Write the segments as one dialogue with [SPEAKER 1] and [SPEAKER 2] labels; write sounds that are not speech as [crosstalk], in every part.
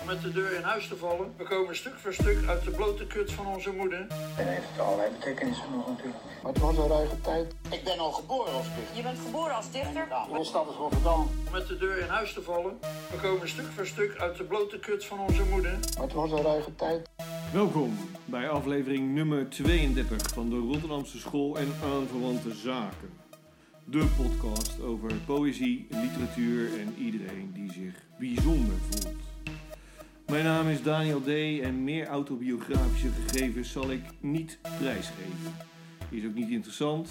[SPEAKER 1] om met de deur in huis te vallen. We komen stuk voor stuk uit de blote kut van onze moeder.
[SPEAKER 2] En heeft het allerlei betekenissen nog natuurlijk.
[SPEAKER 3] Maar het was een ruige tijd.
[SPEAKER 4] Ik ben al geboren als dichter.
[SPEAKER 5] Je bent geboren als dichter?
[SPEAKER 4] Ja, mijn stad is Rotterdam.
[SPEAKER 1] Om met de deur in huis te vallen. We komen stuk voor stuk uit de blote kut van onze moeder.
[SPEAKER 3] Maar het was een ruige tijd.
[SPEAKER 6] Welkom bij aflevering nummer 32 van de Rotterdamse School en aanverwante zaken. De podcast over poëzie, literatuur en iedereen die zich bijzonder voelt. Mijn naam is Daniel D. en meer autobiografische gegevens zal ik niet prijsgeven. Die is ook niet interessant,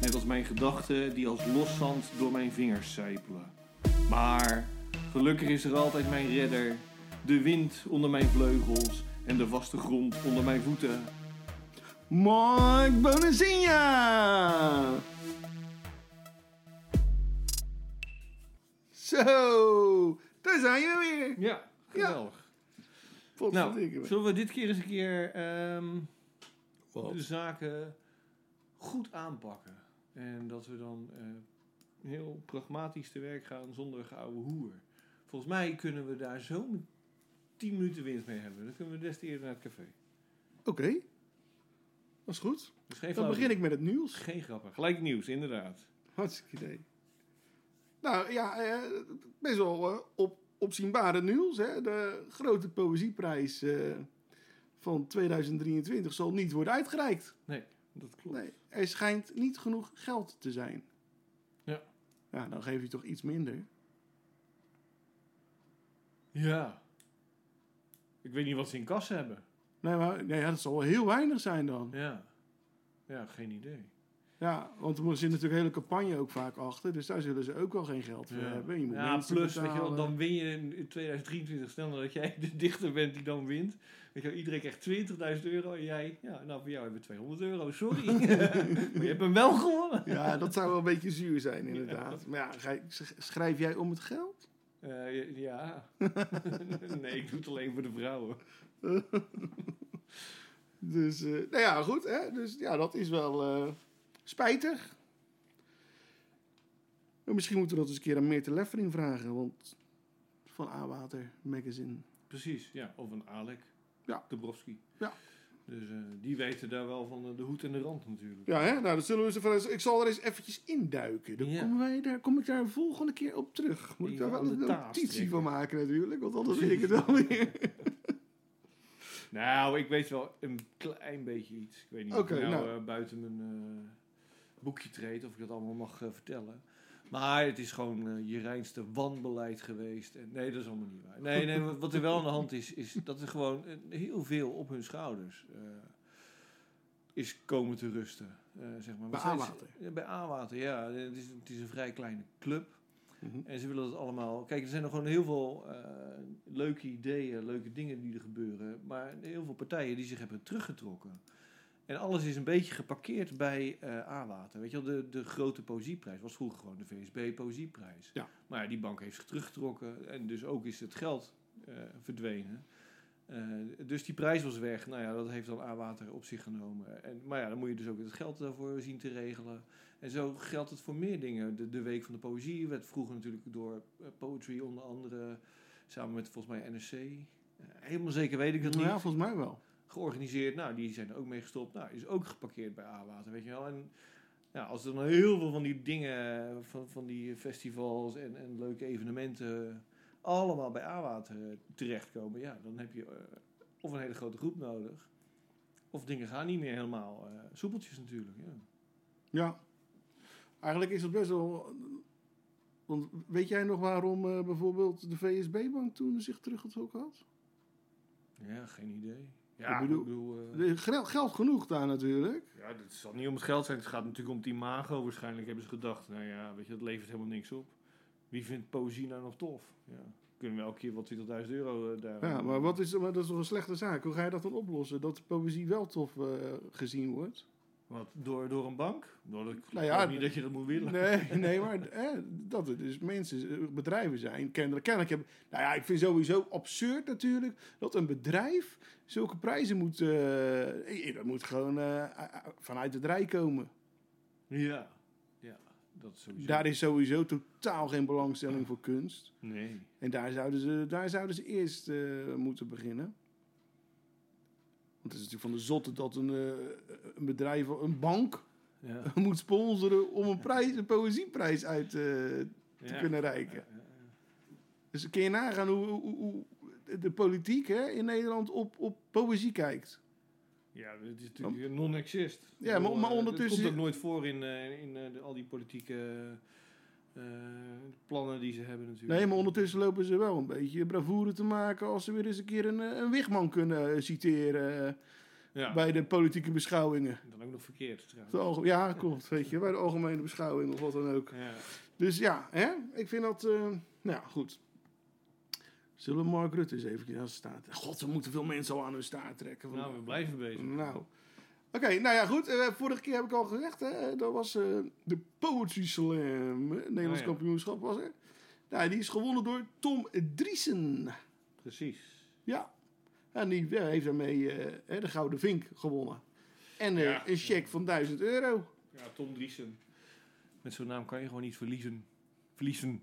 [SPEAKER 6] net als mijn gedachten die als loszand door mijn vingers sijpelen. Maar gelukkig is er altijd mijn redder, de wind onder mijn vleugels en de vaste grond onder mijn voeten. Mark Bonazinha!
[SPEAKER 7] Zo, daar zijn we weer.
[SPEAKER 6] Ja, geweldig. Nou,
[SPEAKER 7] Potverdikke.
[SPEAKER 6] zullen we dit keer eens een keer ehm,
[SPEAKER 7] Wat?
[SPEAKER 6] de zaken goed aanpakken? En dat we dan eh, heel pragmatisch te werk gaan zonder geouwe hoer. Volgens mij kunnen we daar zo'n 10 minuten winst mee hebben. Dan kunnen we des te eerder naar het café.
[SPEAKER 7] Oké, dat is goed.
[SPEAKER 6] Dus geen
[SPEAKER 7] Dan
[SPEAKER 6] flauw-
[SPEAKER 7] begin ik met het nieuws.
[SPEAKER 6] Geen grappen. Gelijk nieuws, inderdaad.
[SPEAKER 7] Hartstikke idee. Nou ja, eh, best wel eh, op, opzienbare nieuws. Hè? De grote poëzieprijs eh, van 2023 zal niet worden uitgereikt.
[SPEAKER 6] Nee, dat klopt.
[SPEAKER 7] Nee, er schijnt niet genoeg geld te zijn.
[SPEAKER 6] Ja.
[SPEAKER 7] Ja, dan geef je toch iets minder.
[SPEAKER 6] Ja. Ik weet niet wat ze in kas hebben.
[SPEAKER 7] Nee, maar nee, ja, dat zal wel heel weinig zijn dan.
[SPEAKER 6] Ja. Ja, geen idee.
[SPEAKER 7] Ja, want er zit natuurlijk een hele campagne ook vaak achter. Dus daar zullen ze ook wel geen geld voor
[SPEAKER 6] Ja.
[SPEAKER 7] hebben. Je moet
[SPEAKER 6] ja,
[SPEAKER 7] mensen
[SPEAKER 6] plus, weet je wel,
[SPEAKER 7] betalen.
[SPEAKER 6] dan win je in 2023 sneller dat jij de dichter bent die dan wint. Weet je wel, iedereen krijgt 20.000 euro en jij, ja, nou voor jou hebben we 200 euro,
[SPEAKER 7] [laughs]
[SPEAKER 6] sorry. maar je hebt hem wel gewonnen.
[SPEAKER 7] Ja, dat zou wel een beetje zuur zijn, inderdaad. Maar ja, ga je- sch- schrijf jij om het geld?
[SPEAKER 6] Eh, ja. [laughs] nee, ik doe het alleen voor de vrouwen.
[SPEAKER 7] Dus, eh, nou ja, goed. Hè? Dus ja, dat is wel eh, spijtig. Maar misschien moeten we dat eens een keer aan Meerte Leffering vragen. Want van A-Water Magazine.
[SPEAKER 6] Precies, ja. Of een Alek.
[SPEAKER 7] Ja.
[SPEAKER 6] Dabrowski.
[SPEAKER 7] Ja.
[SPEAKER 6] Dus eh, die weten daar wel van eh, de hoed en de rand natuurlijk.
[SPEAKER 7] Ja, hè? nou, dat zullen we ze van. Ik zal er eens eventjes induiken. Dan
[SPEAKER 6] Ja.
[SPEAKER 7] komen wij daar, kom ik daar een volgende keer op terug. Moet ik
[SPEAKER 6] Even
[SPEAKER 7] daar wel
[SPEAKER 6] aan
[SPEAKER 7] een
[SPEAKER 6] de taart
[SPEAKER 7] notitie
[SPEAKER 6] trekken.
[SPEAKER 7] van maken, natuurlijk. Want anders weet ik het wel weer.
[SPEAKER 6] Nou, ik weet wel een klein beetje iets. Ik weet niet
[SPEAKER 7] Oké,
[SPEAKER 6] of ik nou,
[SPEAKER 7] nou.
[SPEAKER 6] eh, buiten mijn eh, boekje treed of ik dat allemaal mag eh, vertellen. Maar het is gewoon eh, je reinste wanbeleid geweest. En, nee, dat is allemaal niet waar. Nee, nee, wat wat er wel aan de hand is, is dat er gewoon eh, heel veel op hun schouders eh, is komen te rusten. eh, zeg maar.
[SPEAKER 7] Bij
[SPEAKER 6] Wat zijn
[SPEAKER 7] A-Water.
[SPEAKER 6] ze- Bij A-Water, ja. Het is, het is een vrij kleine club.
[SPEAKER 7] Mhm.
[SPEAKER 6] En ze willen dat allemaal. Kijk, er zijn er gewoon heel veel eh, leuke ideeën, leuke dingen die er gebeuren. Maar heel veel partijen die zich hebben teruggetrokken. En alles is een beetje geparkeerd bij eh A-Water. Weet je wel, de, de grote poëzieprijs was vroeger gewoon de VSB-poëzieprijs.
[SPEAKER 7] Ja.
[SPEAKER 6] Maar ja, die bank heeft zich teruggetrokken. En dus ook is het geld eh, verdwenen. Eh, dus die prijs was weg. Nou ja, dat heeft dan A-Water op zich genomen. En, maar ja, dan moet je dus ook het geld daarvoor zien te regelen. En zo geldt het voor meer dingen. De, de Week van de Poëzie werd vroeger natuurlijk door eh, Poetry onder andere... samen met volgens mij NRC... eh, helemaal zeker weet ik dat niet
[SPEAKER 7] Nou Ja, volgens mij wel.
[SPEAKER 6] georganiseerd. Nou, die zijn er ook mee gestopt. Nou, is ook geparkeerd bij A-Water, weet je wel. En nou, als er dan heel veel van die dingen, van, van die festivals en, en leuke evenementen... allemaal bij A-Water eh, terechtkomen, ja, dan heb je eh, of een hele grote groep nodig... of dingen gaan niet meer helemaal eh, soepeltjes natuurlijk, ja.
[SPEAKER 7] Ja. Eigenlijk is het best wel. Want weet jij nog waarom eh, bijvoorbeeld de VSB-bank toen zich teruggetrokken had?
[SPEAKER 6] Ja, geen idee.
[SPEAKER 7] Ik bedoel-
[SPEAKER 6] eh,
[SPEAKER 7] Er is gel- geld genoeg daar natuurlijk.
[SPEAKER 6] ja, het zal niet om het geld zijn. Het gaat natuurlijk om die imago. Waarschijnlijk hebben ze gedacht, nou ja, weet je, dat levert helemaal niks op. Wie vindt poëzie nou nog tof? Ja. Kunnen we elke keer wel 20.000 euro eh, daar...
[SPEAKER 7] Ja, maar, wat is, maar dat is toch een slechte zaak. Hoe ga je dat dan oplossen? Dat de poëzie wel tof eh, gezien wordt?
[SPEAKER 6] Wat, door, door een bank? Nou, dat- ik nou
[SPEAKER 7] Nou ja,
[SPEAKER 6] niet dat je dat moet willen.
[SPEAKER 7] Nee, nee maar eh, dat het dus mensen, eh, bedrijven zijn. Kennelijk, kennelijk hebben. Nou ja, ik vind sowieso absurd natuurlijk dat een bedrijf zulke prijzen moet. eh, eh, dat moet gewoon eh, vanuit het rij komen.
[SPEAKER 6] Ja. ja. Dat is sowieso...
[SPEAKER 7] Daar is sowieso totaal geen belangstelling voor kunst.
[SPEAKER 6] Nee.
[SPEAKER 7] En daar zouden ze, daar zouden ze eerst eh, moeten beginnen. Want het is natuurlijk van de zotte dat een, eh, een bedrijf, een bank, [laughs]
[SPEAKER 6] Ja.
[SPEAKER 7] moet sponsoren om een, prijs, een poëzieprijs uit eh, te
[SPEAKER 6] Ja.
[SPEAKER 7] kunnen reiken. Dus kun je nagaan hoe, hoe, hoe de politiek hè, in Nederland op, op poëzie kijkt.
[SPEAKER 6] Ja, dat is natuurlijk non-exist. Ik
[SPEAKER 7] maar-
[SPEAKER 6] bedoel,
[SPEAKER 7] maar
[SPEAKER 6] eh,
[SPEAKER 7] ondertussen-
[SPEAKER 6] Het komt ook nooit voor in, eh, in eh, de- al die politieke eh, plannen die ze hebben natuurlijk.
[SPEAKER 7] Nee, maar ondertussen lopen ze wel een beetje bravoure te maken als ze weer eens een keer een, eh, een Wichman kunnen eh, citeren eh,
[SPEAKER 6] Ja,
[SPEAKER 7] bij de politieke beschouwingen.
[SPEAKER 6] en dan ook nog verkeerd trouwens.
[SPEAKER 7] De alge- ja, klopt, weet je, bij de algemene beschouwing of wat dan ook.
[SPEAKER 6] Ja.
[SPEAKER 7] Dus ja, hè, ik vind dat, eh, nou ja, goed. Zullen we Mark Rutte eens even aan zijn staart God, we moeten veel mensen al aan hun staart trekken. Want-
[SPEAKER 6] Nou, we blijven bezig.
[SPEAKER 7] Nou. Oké, nou ja, goed. Eh, vorige keer heb ik al gezegd, hè, dat was eh, de Poetry Slam. hè, het Nederlands
[SPEAKER 6] Oh ja.
[SPEAKER 7] kampioenschap was er. Nou, die is gewonnen door Tom Driesen.
[SPEAKER 6] Precies.
[SPEAKER 7] Ja. En die eh, heeft daarmee eh, hè, de Gouden Vink gewonnen. En eh,
[SPEAKER 6] Ja.
[SPEAKER 7] een cheque van 1000 euro.
[SPEAKER 6] Ja, Tom Driesen. Met zo'n naam kan je gewoon niet verliezen. Verliezen.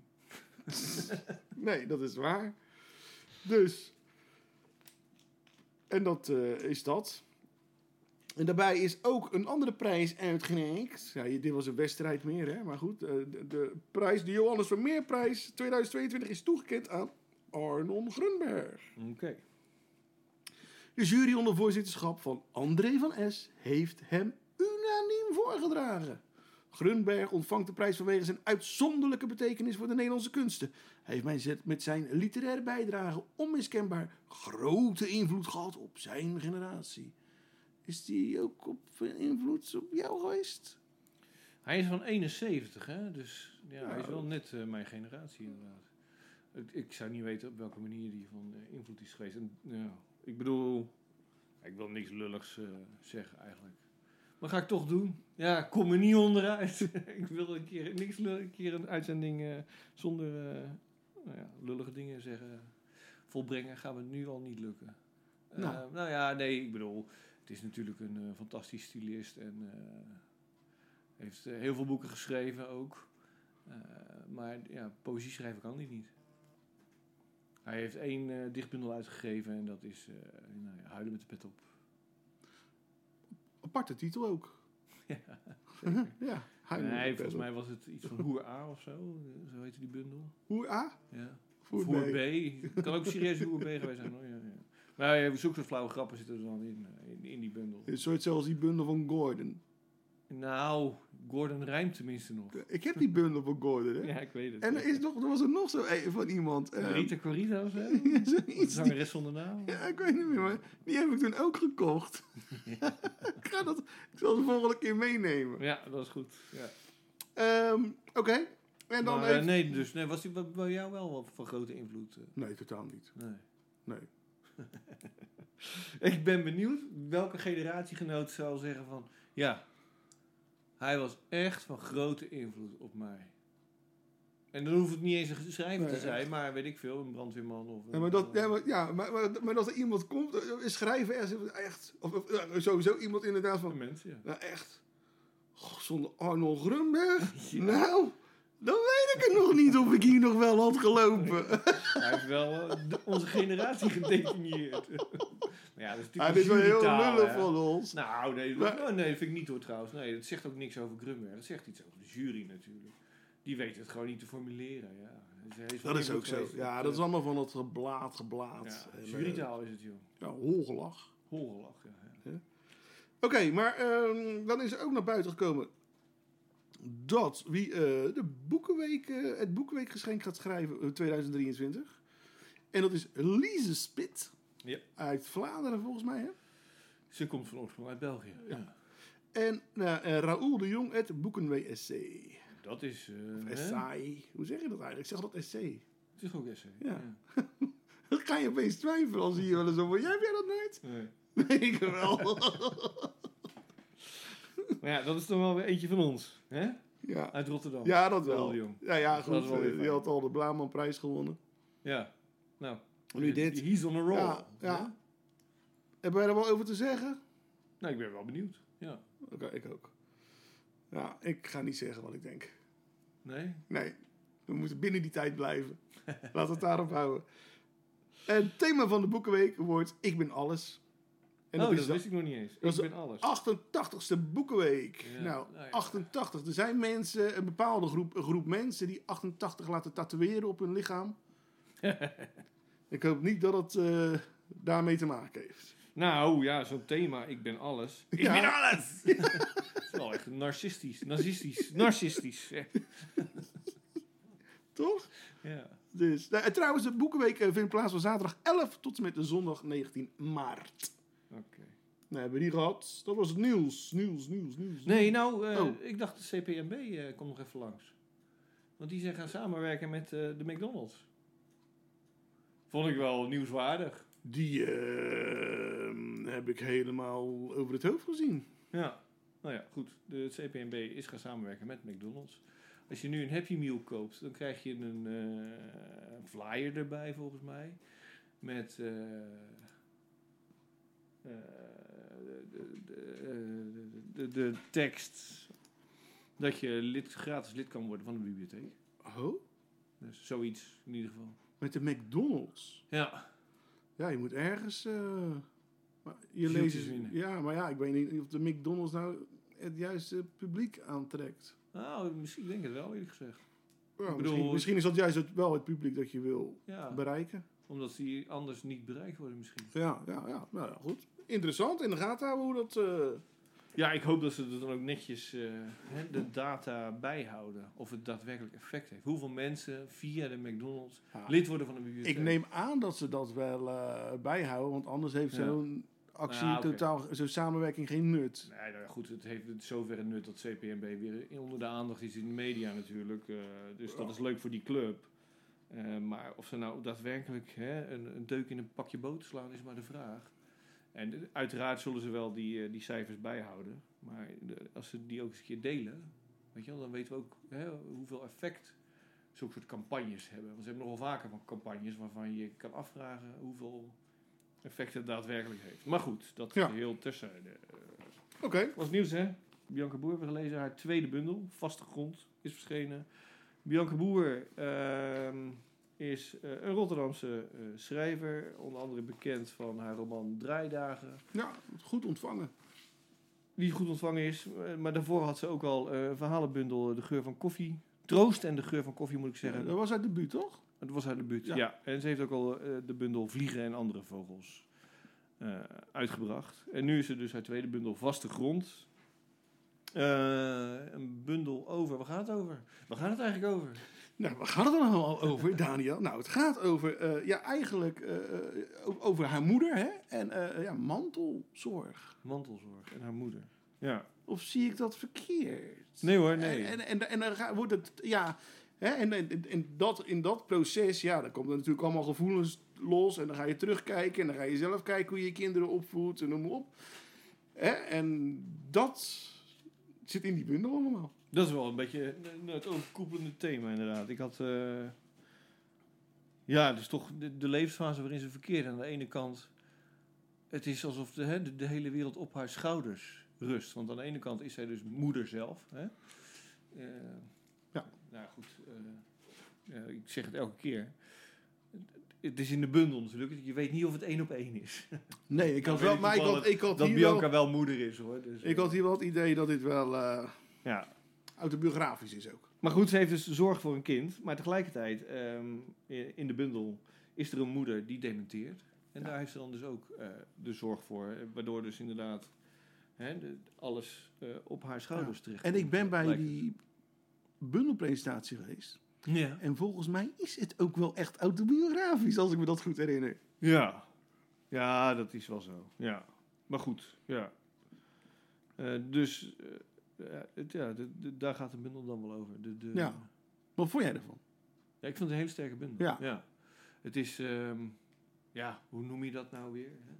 [SPEAKER 7] Nee, dat is waar. Dus. En dat eh, is dat. En daarbij is ook een andere prijs uitgereikt. Ja, dit was een wedstrijd meer, hè? maar goed. eh, de, de prijs, de Johannes Vermeerprijs 2022 is toegekend aan Arnon Grunberg.
[SPEAKER 6] Oké.
[SPEAKER 7] De jury onder voorzitterschap van André van S. heeft hem unaniem voorgedragen. Grunberg ontvangt de prijs vanwege zijn uitzonderlijke betekenis voor de Nederlandse kunsten. Hij heeft mijn zet- met zijn literaire bijdrage onmiskenbaar grote invloed gehad op zijn generatie. Is die ook op invloed op jou geweest?
[SPEAKER 6] Hij is van 71, hè? Dus ja, hij is
[SPEAKER 7] Nou.
[SPEAKER 6] wel net eh, mijn generatie, inderdaad. Ik, ik zou niet weten op welke manier die van eh, invloed is geweest. En, ja, ik bedoel, ik wil niks lulligs eh, zeggen eigenlijk. Maar ga ik toch doen? Ja, ik kom er niet onderuit. [laughs] ik wil een keer, niks lullig, een keer een uitzending eh, zonder eh, nou ja, lullige dingen zeggen. Volbrengen gaan we nu al niet lukken. Eh,
[SPEAKER 7] Nou.
[SPEAKER 6] nou ja, nee, ik bedoel, het is natuurlijk een eh, fantastisch stylist en... eh, heeft eh, heel veel boeken geschreven ook. Eh, maar ja, poëzie schrijven kan hij niet. Hij heeft één eh, dichtbundel uitgegeven en dat is eh nou ja, Huilen met de pet op.
[SPEAKER 7] Aparte titel
[SPEAKER 6] [laughs]
[SPEAKER 7] ook. Mhm,
[SPEAKER 6] Ja.
[SPEAKER 7] ja, hij
[SPEAKER 6] nee, volgens mij was het iets van Hoer A of zo. eh, Zo heette die bundel.
[SPEAKER 7] Hoe ah, A?
[SPEAKER 6] Ja.
[SPEAKER 7] Hoe
[SPEAKER 6] Of Hoer B. Het kan ook serieus Hoer B geweest zijn. Hoor. Ja, ja. Maar ja, zulke soort flauwe grappen zitten er dan in, eh, in, in die bundel.
[SPEAKER 7] Een soort zoals die bundel van Gordon.
[SPEAKER 6] Nou, Gordon rijmt tenminste nog.
[SPEAKER 7] Ik heb die bundel van Gordon, hè?
[SPEAKER 6] Ja, ik weet het.
[SPEAKER 7] En er, is nog, er was er nog zo een van iemand. eh,
[SPEAKER 6] Rita Corita of zo?
[SPEAKER 7] [laughs] zoiets. Die,
[SPEAKER 6] Zangeres zonder naam?
[SPEAKER 7] ja, ik weet niet meer, maar die heb ik toen ook
[SPEAKER 6] [laughs]
[SPEAKER 7] gekocht. ik, ga dat, ik zal ze volgende keer meenemen.
[SPEAKER 6] Ja, dat is goed. Ja.
[SPEAKER 7] Ehm, Oké. En dan
[SPEAKER 6] Maar, eh,
[SPEAKER 7] heeft...
[SPEAKER 6] nee, dus nee, was die bij- bij jou wel wat van grote invloed? eh?
[SPEAKER 7] nee, totaal niet.
[SPEAKER 6] Nee. [laughs]
[SPEAKER 7] Nee.
[SPEAKER 6] Ik ben benieuwd welke generatiegenoot zou zeggen van... Ja, hij was echt van grote invloed op mij. En dan hoeft het niet eens een geschrijver
[SPEAKER 7] Nee,
[SPEAKER 6] te zijn, maar weet ik veel, een eh, brandweerman of...
[SPEAKER 7] Ja, maar, dat, ja, maar, ja, maar, maar, maar als er iemand komt, eh, schrijven echt- echt. Of, of, eh, sowieso iemand inderdaad
[SPEAKER 6] Een
[SPEAKER 7] van.
[SPEAKER 6] mens, ja.
[SPEAKER 7] Nou, echt. Goh, zonder Arnold
[SPEAKER 6] [laughs]
[SPEAKER 7] Grunberg?
[SPEAKER 6] Ja.
[SPEAKER 7] Nou, dan weet ik het nog niet of ik hier nog wel had gelopen.
[SPEAKER 6] [laughs] Hij heeft wel eh, de- onze generatie [laughs] gedefinieerd. maar ja, dat is natuurlijk
[SPEAKER 7] Hij is wel
[SPEAKER 6] een
[SPEAKER 7] heel
[SPEAKER 6] jurytaal,
[SPEAKER 7] lullig
[SPEAKER 6] hè.
[SPEAKER 7] van ons.
[SPEAKER 6] Nou, nee, dat,
[SPEAKER 7] Maar-
[SPEAKER 6] oh, nee, dat vind ik niet hoor trouwens. Nee, dat zegt ook niks over Grunberg. Dat zegt iets over de jury natuurlijk. Die weet het gewoon niet te formuleren. Ja. Dus hij
[SPEAKER 7] Dat is ook zo.
[SPEAKER 6] geweest.
[SPEAKER 7] Ja, dat is allemaal van dat geblaad, geblaad.
[SPEAKER 6] Ja,
[SPEAKER 7] En, eh,
[SPEAKER 6] jurytaal is het, joh.
[SPEAKER 7] Ja, holgelach.
[SPEAKER 6] Holgelach, ja. ja.
[SPEAKER 7] Oké, maar ehm, dan is er ook naar buiten gekomen dat wie eh, de boekenweek, eh, het boekenweekgeschenk gaat schrijven eh, 2023. En dat is Lise Spit.
[SPEAKER 6] Ja.
[SPEAKER 7] Uit Vlaanderen volgens mij, hè?
[SPEAKER 6] Ze komt van oorsprong uit België. Ja.
[SPEAKER 7] En nou, eh, Raoul de Jong, het boekenwee-SC.
[SPEAKER 6] Dat is... eh, hè?
[SPEAKER 7] Essay. Hoe zeg je dat eigenlijk? Ik zeg dat essay.
[SPEAKER 6] Het is ook essay.
[SPEAKER 7] Ja. [laughs] Dan ga je opeens twijfelen als je hier wel eens over... Jij heb jij dat nooit? [laughs]
[SPEAKER 6] Nee.
[SPEAKER 7] Nee, ik wel.
[SPEAKER 6] [laughs] Maar ja, dat is dan wel weer eentje van ons. Hè?
[SPEAKER 7] ja.
[SPEAKER 6] Uit Rotterdam.
[SPEAKER 7] Ja, dat
[SPEAKER 6] Wel,
[SPEAKER 7] wel.
[SPEAKER 6] jong.
[SPEAKER 7] Ja, ja
[SPEAKER 6] Dat is
[SPEAKER 7] goed.
[SPEAKER 6] wel weer
[SPEAKER 7] eh, Die
[SPEAKER 6] fijn.
[SPEAKER 7] had al de Blamanprijs gewonnen.
[SPEAKER 6] Ja. Nou.
[SPEAKER 7] Nu dit.
[SPEAKER 6] He's on a roll.
[SPEAKER 7] Ja, ja. Hebben wij er wel over te zeggen?
[SPEAKER 6] Nou, ik ben wel benieuwd. Ja.
[SPEAKER 7] Oké, ik ook. Ja, ik ga niet zeggen wat ik denk.
[SPEAKER 6] Nee?
[SPEAKER 7] Nee, we moeten binnen die tijd blijven.
[SPEAKER 6] [laughs]
[SPEAKER 7] Laat het daarop houden. En het thema van de Boekenweek wordt Ik ben alles. En
[SPEAKER 6] oh,
[SPEAKER 7] dat
[SPEAKER 6] dat
[SPEAKER 7] is de
[SPEAKER 6] wist ik nog niet eens.
[SPEAKER 7] dat
[SPEAKER 6] Ik
[SPEAKER 7] is Oh, de
[SPEAKER 6] ben alles.
[SPEAKER 7] 88ste Boekenweek.
[SPEAKER 6] Ja,
[SPEAKER 7] Nou,
[SPEAKER 6] nou ja.
[SPEAKER 7] 88. Er zijn mensen, een bepaalde groep, een groep mensen die 88 laten tatoeëren op hun
[SPEAKER 6] [laughs]
[SPEAKER 7] lichaam. ik hoop niet dat het eh, daarmee te maken heeft.
[SPEAKER 6] Nou ja, zo'n thema, ik ben alles. Ik
[SPEAKER 7] Ja.
[SPEAKER 6] ben alles! [laughs] Dat is wel echt narcistisch. Narcistisch. Narcistisch. echt.
[SPEAKER 7] Toch?
[SPEAKER 6] Ja.
[SPEAKER 7] Dus, nou, en trouwens, de Boekenweek eh, vindt plaats van zaterdag 11 tot en met zondag 19 maart.
[SPEAKER 6] Oké.
[SPEAKER 7] Nou, hebben we die gehad. Dat was het nieuws. Nieuws, nieuws, nieuws.
[SPEAKER 6] Nee, nou, eh,
[SPEAKER 7] Oh.
[SPEAKER 6] ik dacht de CPMB eh, komt nog even langs. Want die zijn gaan samenwerken met eh, de McDonald's. Vond ik wel nieuwswaardig.
[SPEAKER 7] Die ehm, heb ik helemaal over het hoofd gezien.
[SPEAKER 6] Ja. Nou ja, goed. De CPMB is gaan samenwerken met McDonald's. Als je nu een Happy Meal koopt, dan krijg je een eh, flyer erbij volgens mij. Met eh, eh, de, de, de, de, de tekst dat je lid, gratis lid kan worden van de bibliotheek.
[SPEAKER 7] Oh?
[SPEAKER 6] Dus zoiets in ieder geval.
[SPEAKER 7] Met de McDonald's.
[SPEAKER 6] Ja.
[SPEAKER 7] Ja, je moet ergens... eh, maar je
[SPEAKER 6] Zieltjes
[SPEAKER 7] leest- dus-
[SPEAKER 6] winnen.
[SPEAKER 7] Ja, maar ja, ik weet niet of de McDonald's nou het juiste publiek aantrekt.
[SPEAKER 6] Nou, misschien denk ik het wel eerlijk gezegd.
[SPEAKER 7] Ja,
[SPEAKER 6] bedoel-
[SPEAKER 7] misschien, misschien is dat juist het, wel het publiek dat je wil
[SPEAKER 6] Ja,
[SPEAKER 7] bereiken.
[SPEAKER 6] omdat die anders niet bereikt worden misschien.
[SPEAKER 7] Ja, ja, ja. Nou ja, goed. Interessant. In de gaten houden hoe dat... eh,
[SPEAKER 6] Ja, ik hoop dat ze er dan ook netjes eh, hè, de data bijhouden. Of het daadwerkelijk effect heeft. Hoeveel mensen via de McDonald's
[SPEAKER 7] Ja.
[SPEAKER 6] lid worden van de bibliotheek.
[SPEAKER 7] Ik neem aan dat ze dat wel eh, bijhouden, want anders heeft
[SPEAKER 6] Ja.
[SPEAKER 7] zo'n actie
[SPEAKER 6] Ah, oké.
[SPEAKER 7] totaal, zo'n samenwerking geen nut.
[SPEAKER 6] Nee, nou ja, goed, het heeft het zover een nut dat CPMB weer in- onder de aandacht is in de media natuurlijk. eh, dus dat is leuk voor die club. Eh, maar of ze nou daadwerkelijk hè, een, een deuk in een pakje boter slaan, is maar de vraag. En eh, uiteraard zullen ze wel die, eh, die cijfers bijhouden. Maar de- als ze die ook eens een keer delen, weet je wel, dan weten we ook hè, hoeveel effect zulke soort campagnes hebben. Want ze hebben nogal vaker van campagnes waarvan je kan afvragen hoeveel effect het daadwerkelijk heeft. Maar goed, dat
[SPEAKER 7] Ja.
[SPEAKER 6] is heel terzijde.
[SPEAKER 7] Oké,
[SPEAKER 6] Was nieuws, hè? Bianca Boer hebben we gelezen. Haar tweede bundel, Vaste Grond, is verschenen. Bianca Boer ehm, is eh, een Rotterdamse eh, schrijver. Onder andere bekend van haar roman Draaidagen.
[SPEAKER 7] ja, goed ontvangen.
[SPEAKER 6] Die goed ontvangen is. eh, Maar daarvoor had ze ook al eh, een verhalenbundel eh, De Geur van Koffie. Troost en De Geur van Koffie, moet ik zeggen.
[SPEAKER 7] dat was uit de buurt, toch?
[SPEAKER 6] Het was haar debuut, ja.
[SPEAKER 7] Ja.
[SPEAKER 6] ja. En ze heeft ook al eh, de bundel Vliegen en andere vogels eh, uitgebracht. En nu is er dus haar tweede bundel Vaste Grond. Eh, een bundel over, waar gaat het over? Waar gaat het eigenlijk over?
[SPEAKER 7] Nou, waar gaat het dan allemaal over, Daniel? Nou, het gaat over, eh, ja, eigenlijk eh, eh, o- over haar moeder, hè? En eh, ja, mantelzorg.
[SPEAKER 6] Mantelzorg en haar moeder. Ja.
[SPEAKER 7] Of zie ik dat verkeerd?
[SPEAKER 6] Nee hoor, nee.
[SPEAKER 7] En, en, en, en dan ga- wordt het, ja... Hè, en en, en- en dat, in dat proces, ja, dan komen er natuurlijk allemaal gevoelens los. En dan ga je terugkijken en dan ga je zelf kijken hoe je je kinderen opvoedt en noem maar op. Hè, en dat zit in die bundel allemaal.
[SPEAKER 6] Dat is wel een beetje eh, het overkoepelende thema inderdaad. Ik had... eh, ja, dus toch de, de levensfase waarin ze verkeert. Aan de ene kant... Het is alsof de, hè, de, de hele wereld op haar schouders rust. Want aan de ene kant is zij dus moeder zelf. Hè? Eh,
[SPEAKER 7] Ja.
[SPEAKER 6] Nou goed, eh, eh, ik zeg het elke keer. Het is in de bundel natuurlijk. dus Je weet niet of het één op één is.
[SPEAKER 7] Nee, ik
[SPEAKER 6] Nou,
[SPEAKER 7] had
[SPEAKER 6] weet
[SPEAKER 7] wel,
[SPEAKER 6] ik
[SPEAKER 7] maar ik had,
[SPEAKER 6] toevallig
[SPEAKER 7] ik had
[SPEAKER 6] Dat
[SPEAKER 7] hier
[SPEAKER 6] Bianca
[SPEAKER 7] wel,
[SPEAKER 6] wel moeder is hoor. Dus,
[SPEAKER 7] ik had hier wel het idee dat dit wel eh,
[SPEAKER 6] ja.
[SPEAKER 7] autobiografisch is ook.
[SPEAKER 6] Maar goed, ze heeft dus zorg voor een kind. Maar tegelijkertijd, ehm, i- in de bundel, is er een moeder die dementeert. En daar heeft ze dan dus ook eh, de zorg voor. eh, Waardoor dus inderdaad hè, de- alles eh, op haar schouders terecht
[SPEAKER 7] En ik ben bij
[SPEAKER 6] lijkt
[SPEAKER 7] die bundelpresentatie geweest.
[SPEAKER 6] het. Ja.
[SPEAKER 7] En volgens mij is het ook wel echt autobiografisch, als ik me dat goed herinner.
[SPEAKER 6] ja. Ja, dat is wel zo. Ja. Maar goed, ja. Eh, dus eh, ja, het- ja, de- de- daar gaat de bundel dan wel over. De, de,
[SPEAKER 7] Ja. Wat vond jij ervan?
[SPEAKER 6] Ja, ik vind het een hele sterke bundel.
[SPEAKER 7] Ja.
[SPEAKER 6] Het is, ehm, ja, hoe noem je dat nou weer? hè?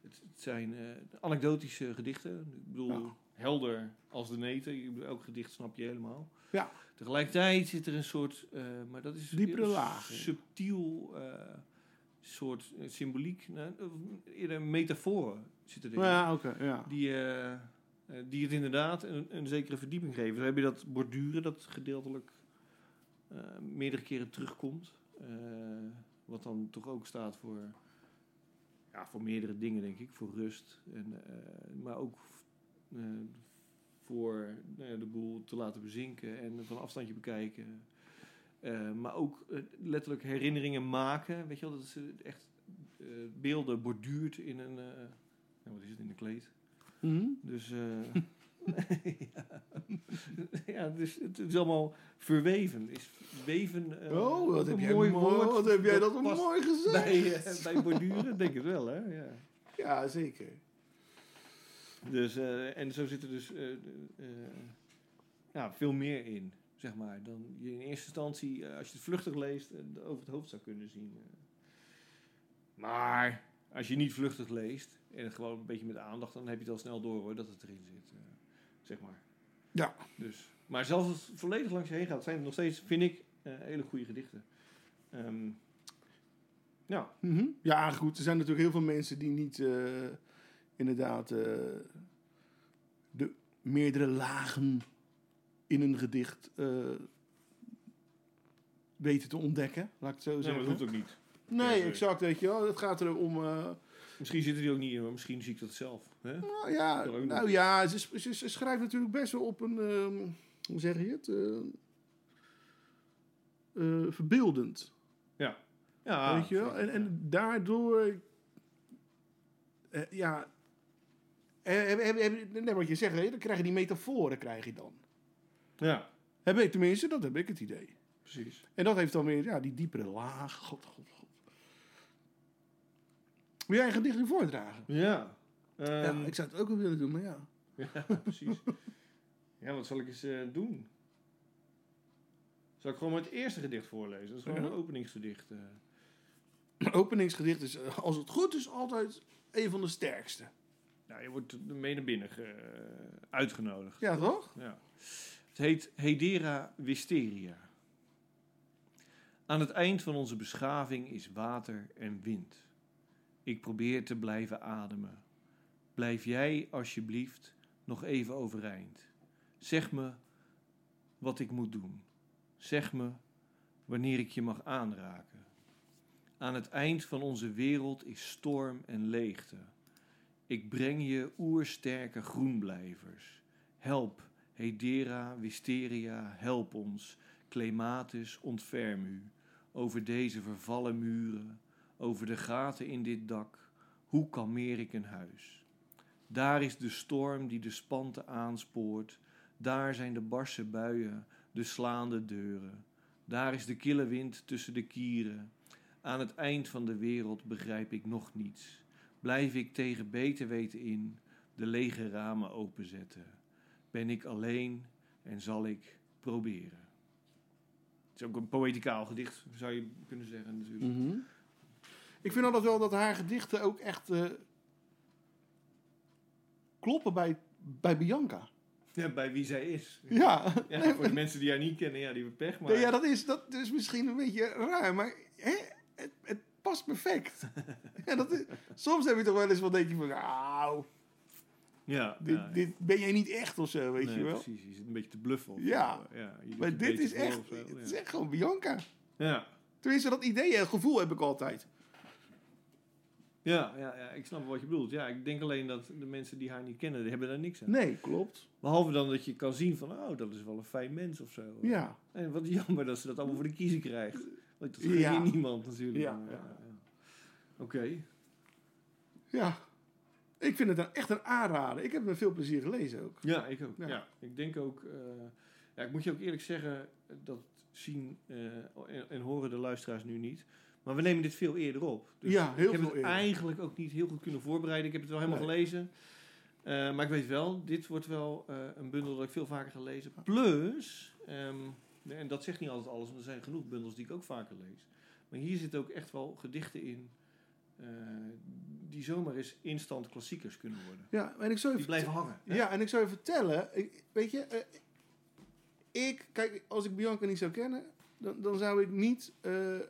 [SPEAKER 6] Het, het zijn eh, anekdotische gedichten. Ik bedoel,
[SPEAKER 7] Ja.
[SPEAKER 6] helder als de neten. Ik bedoel, Elk gedicht snap je helemaal.
[SPEAKER 7] Ja.
[SPEAKER 6] Tegelijkertijd zit er een soort, eh, maar dat is
[SPEAKER 7] Diepere
[SPEAKER 6] heel
[SPEAKER 7] laag in.
[SPEAKER 6] subtiel eh, soort eh, symboliek. Nou, eh, eerder metaforen zitten erin
[SPEAKER 7] Ja, oké, ja.
[SPEAKER 6] die, eh, eh, die het inderdaad een, een zekere verdieping geven. Zo heb je dat borduren, dat gedeeltelijk eh, meerdere keren terugkomt. Eh, wat dan toch ook staat voor, ja, voor meerdere dingen, denk ik. Voor rust, en, eh, maar ook eh, voor nou ja, de boel te laten bezinken en van afstandje bekijken. Eh, maar ook eh, letterlijk herinneringen maken. Weet je wel, dat ze echt eh, beelden borduurt in een... eh, nou, wat is het, in een kleed?
[SPEAKER 7] Mhm.
[SPEAKER 6] Dus, eh, [laughs] ja. ja, dus het is allemaal verweven. Is weven, eh,
[SPEAKER 7] Oh, wat
[SPEAKER 6] een
[SPEAKER 7] heb, jij
[SPEAKER 6] mooi
[SPEAKER 7] mooi-
[SPEAKER 6] woord.
[SPEAKER 7] wat heb jij dat,
[SPEAKER 6] past
[SPEAKER 7] mooi gezegd.
[SPEAKER 6] Bij, eh, bij borduren, denk ik wel, hè? Ja.
[SPEAKER 7] Ja, zeker.
[SPEAKER 6] Dus, eh, en zo zit er dus eh, eh, ja, veel meer in, zeg maar, dan je in eerste instantie, eh, als je het vluchtig leest, eh, over het hoofd zou kunnen zien. eh. Maar als je niet vluchtig leest en het gewoon een beetje met aandacht, dan heb je het al snel door hoor, dat het erin zit, eh, zeg maar.
[SPEAKER 7] Ja.
[SPEAKER 6] Dus, maar zelfs als het volledig langs je heen gaat, zijn het nog steeds, vind ik, eh, hele goede gedichten. Ehm, nou,
[SPEAKER 7] Mhm. Ja, goed. Er zijn natuurlijk heel veel mensen die niet eh, inderdaad eh, de meerdere lagen in een gedicht eh, weten te ontdekken. Laat ik het zo
[SPEAKER 6] nee, maar
[SPEAKER 7] zeggen.
[SPEAKER 6] dat hoeft ook niet.
[SPEAKER 7] nee,
[SPEAKER 6] Ja,
[SPEAKER 7] exact. Weet je wel. Het gaat erom. eh
[SPEAKER 6] Misschien zitten die ook niet in, maar misschien zie ik dat zelf. Hè?
[SPEAKER 7] nou ja,
[SPEAKER 6] Kan ook
[SPEAKER 7] nou, ja ze, ze, ze schrijft natuurlijk best wel op een. ehm, hoe zeg je het? Eh, eh, verbeeldend.
[SPEAKER 6] Ja,
[SPEAKER 7] weet je wel?
[SPEAKER 6] zeker,
[SPEAKER 7] En,
[SPEAKER 6] Ah, ja.
[SPEAKER 7] en daardoor... eh, ja... Eh, heb- heb- heb- net wat je zegt, hè, dan krijg je die metaforen krijg je dan.
[SPEAKER 6] Ja,
[SPEAKER 7] Heb ik tenminste, dat heb ik het idee.
[SPEAKER 6] precies.
[SPEAKER 7] En dat heeft dan weer ja, die diepere laag. God, god, god. Wil jij een gedicht nu voordragen?
[SPEAKER 6] Ja. ehm,
[SPEAKER 7] ja, ik zou het ook wel willen doen, maar ja.
[SPEAKER 6] ja, precies. [laughs] Ja, wat zal ik eens eh, doen? Zal ik gewoon maar het eerste gedicht voorlezen? Dat is gewoon
[SPEAKER 7] Ja.
[SPEAKER 6] een openingsgedicht. eh.
[SPEAKER 7] Mijn openingsgedicht is, eh, als het goed is, altijd een van de sterkste.
[SPEAKER 6] Nou, je wordt mee naar binnen ge- eh, uitgenodigd.
[SPEAKER 7] Ja, toch?
[SPEAKER 6] Ja. Het heet Hedera Wisteria. Aan het eind van onze beschaving is water en wind. Ik probeer te blijven ademen. Blijf jij alsjeblieft nog even overeind. Zeg me wat ik moet doen. Zeg me wanneer ik je mag aanraken. Aan het eind van onze wereld is storm en leegte. Ik breng je oersterke groenblijvers. Help, Hedera, Wisteria, help ons. Clematis, ontferm u. Over deze vervallen muren, over de gaten in dit dak, hoe kalmeer ik een huis? Daar is de storm die de spanten aanspoort. Daar zijn de barse buien, de slaande deuren. Daar is de kille wind tussen de kieren. Aan het eind van de wereld begrijp ik nog niets. Blijf ik tegen beter weten in, de lege ramen openzetten ben ik alleen en zal ik proberen. Het is ook een poëticaal gedicht, zou je kunnen zeggen natuurlijk.
[SPEAKER 7] Ik vind altijd wel dat haar gedichten ook echt eh, kloppen bij, bij Bianca.
[SPEAKER 6] Ja, bij wie zij is.
[SPEAKER 7] Ja.
[SPEAKER 6] Ja, voor de mensen die haar niet kennen, ja, die hebben pech. Maar
[SPEAKER 7] Nee, ja, dat is, dat is misschien een beetje raar, maar hè, het, het past
[SPEAKER 6] [laughs]
[SPEAKER 7] perfect. ja, dat is, soms heb je toch wel eens wat denk je van, nou,
[SPEAKER 6] ja,
[SPEAKER 7] dit,
[SPEAKER 6] ja,
[SPEAKER 7] dit ben jij niet echt of zo, weet
[SPEAKER 6] nee,
[SPEAKER 7] je wel.
[SPEAKER 6] precies. Je zit een beetje te bluffen. of
[SPEAKER 7] Ja.
[SPEAKER 6] zo. ja je doet
[SPEAKER 7] Maar
[SPEAKER 6] een
[SPEAKER 7] dit
[SPEAKER 6] beetje
[SPEAKER 7] is
[SPEAKER 6] voor
[SPEAKER 7] echt,
[SPEAKER 6] of zo,
[SPEAKER 7] het
[SPEAKER 6] ja.
[SPEAKER 7] is echt gewoon Bianca.
[SPEAKER 6] Ja.
[SPEAKER 7] Tenminste, dat idee en gevoel heb ik altijd.
[SPEAKER 6] Ja, ja, ja, ik snap wat je bedoelt. Ja, ik denk alleen dat de mensen die haar niet kennen, die hebben daar niks aan.
[SPEAKER 7] Nee, klopt.
[SPEAKER 6] Behalve dan dat je kan zien van, oh, dat is wel een fijn mens of zo.
[SPEAKER 7] Ja.
[SPEAKER 6] En wat jammer dat ze dat allemaal voor de kiezer krijgt. Want dat gun
[SPEAKER 7] Ja.
[SPEAKER 6] je niemand natuurlijk.
[SPEAKER 7] Ja,
[SPEAKER 6] Maar,
[SPEAKER 7] ja.
[SPEAKER 6] Oké.
[SPEAKER 7] Ja. Ik vind het een, echt een aanrader. Ik heb het met veel plezier gelezen ook.
[SPEAKER 6] Ja, ik ook.
[SPEAKER 7] Ja.
[SPEAKER 6] Ja. Ik denk ook... eh, ja, ik moet je ook eerlijk zeggen, dat zien eh, en, en horen de luisteraars nu niet. Maar we nemen dit veel eerder op. Dus
[SPEAKER 7] Ja, heel
[SPEAKER 6] ik heb
[SPEAKER 7] veel
[SPEAKER 6] het
[SPEAKER 7] eerder.
[SPEAKER 6] eigenlijk ook niet heel goed kunnen voorbereiden. Ik heb het wel helemaal gelezen. Eh, maar ik weet wel, dit wordt wel eh, een bundel dat ik veel vaker ga lezen. Plus, ehm, nee, en dat zegt niet altijd alles, want er zijn genoeg bundels die ik ook vaker lees. Maar hier zitten ook echt wel gedichten in eh, die zomaar eens instant klassiekers kunnen worden.
[SPEAKER 7] Ja, en ik zou
[SPEAKER 6] Die
[SPEAKER 7] even
[SPEAKER 6] blijven hangen. hè?
[SPEAKER 7] Ja, en ik zou je vertellen, ik- weet je, eh, ik, kijk, als ik Bianca niet zou kennen, dan, dan zou ik niet eh, eh,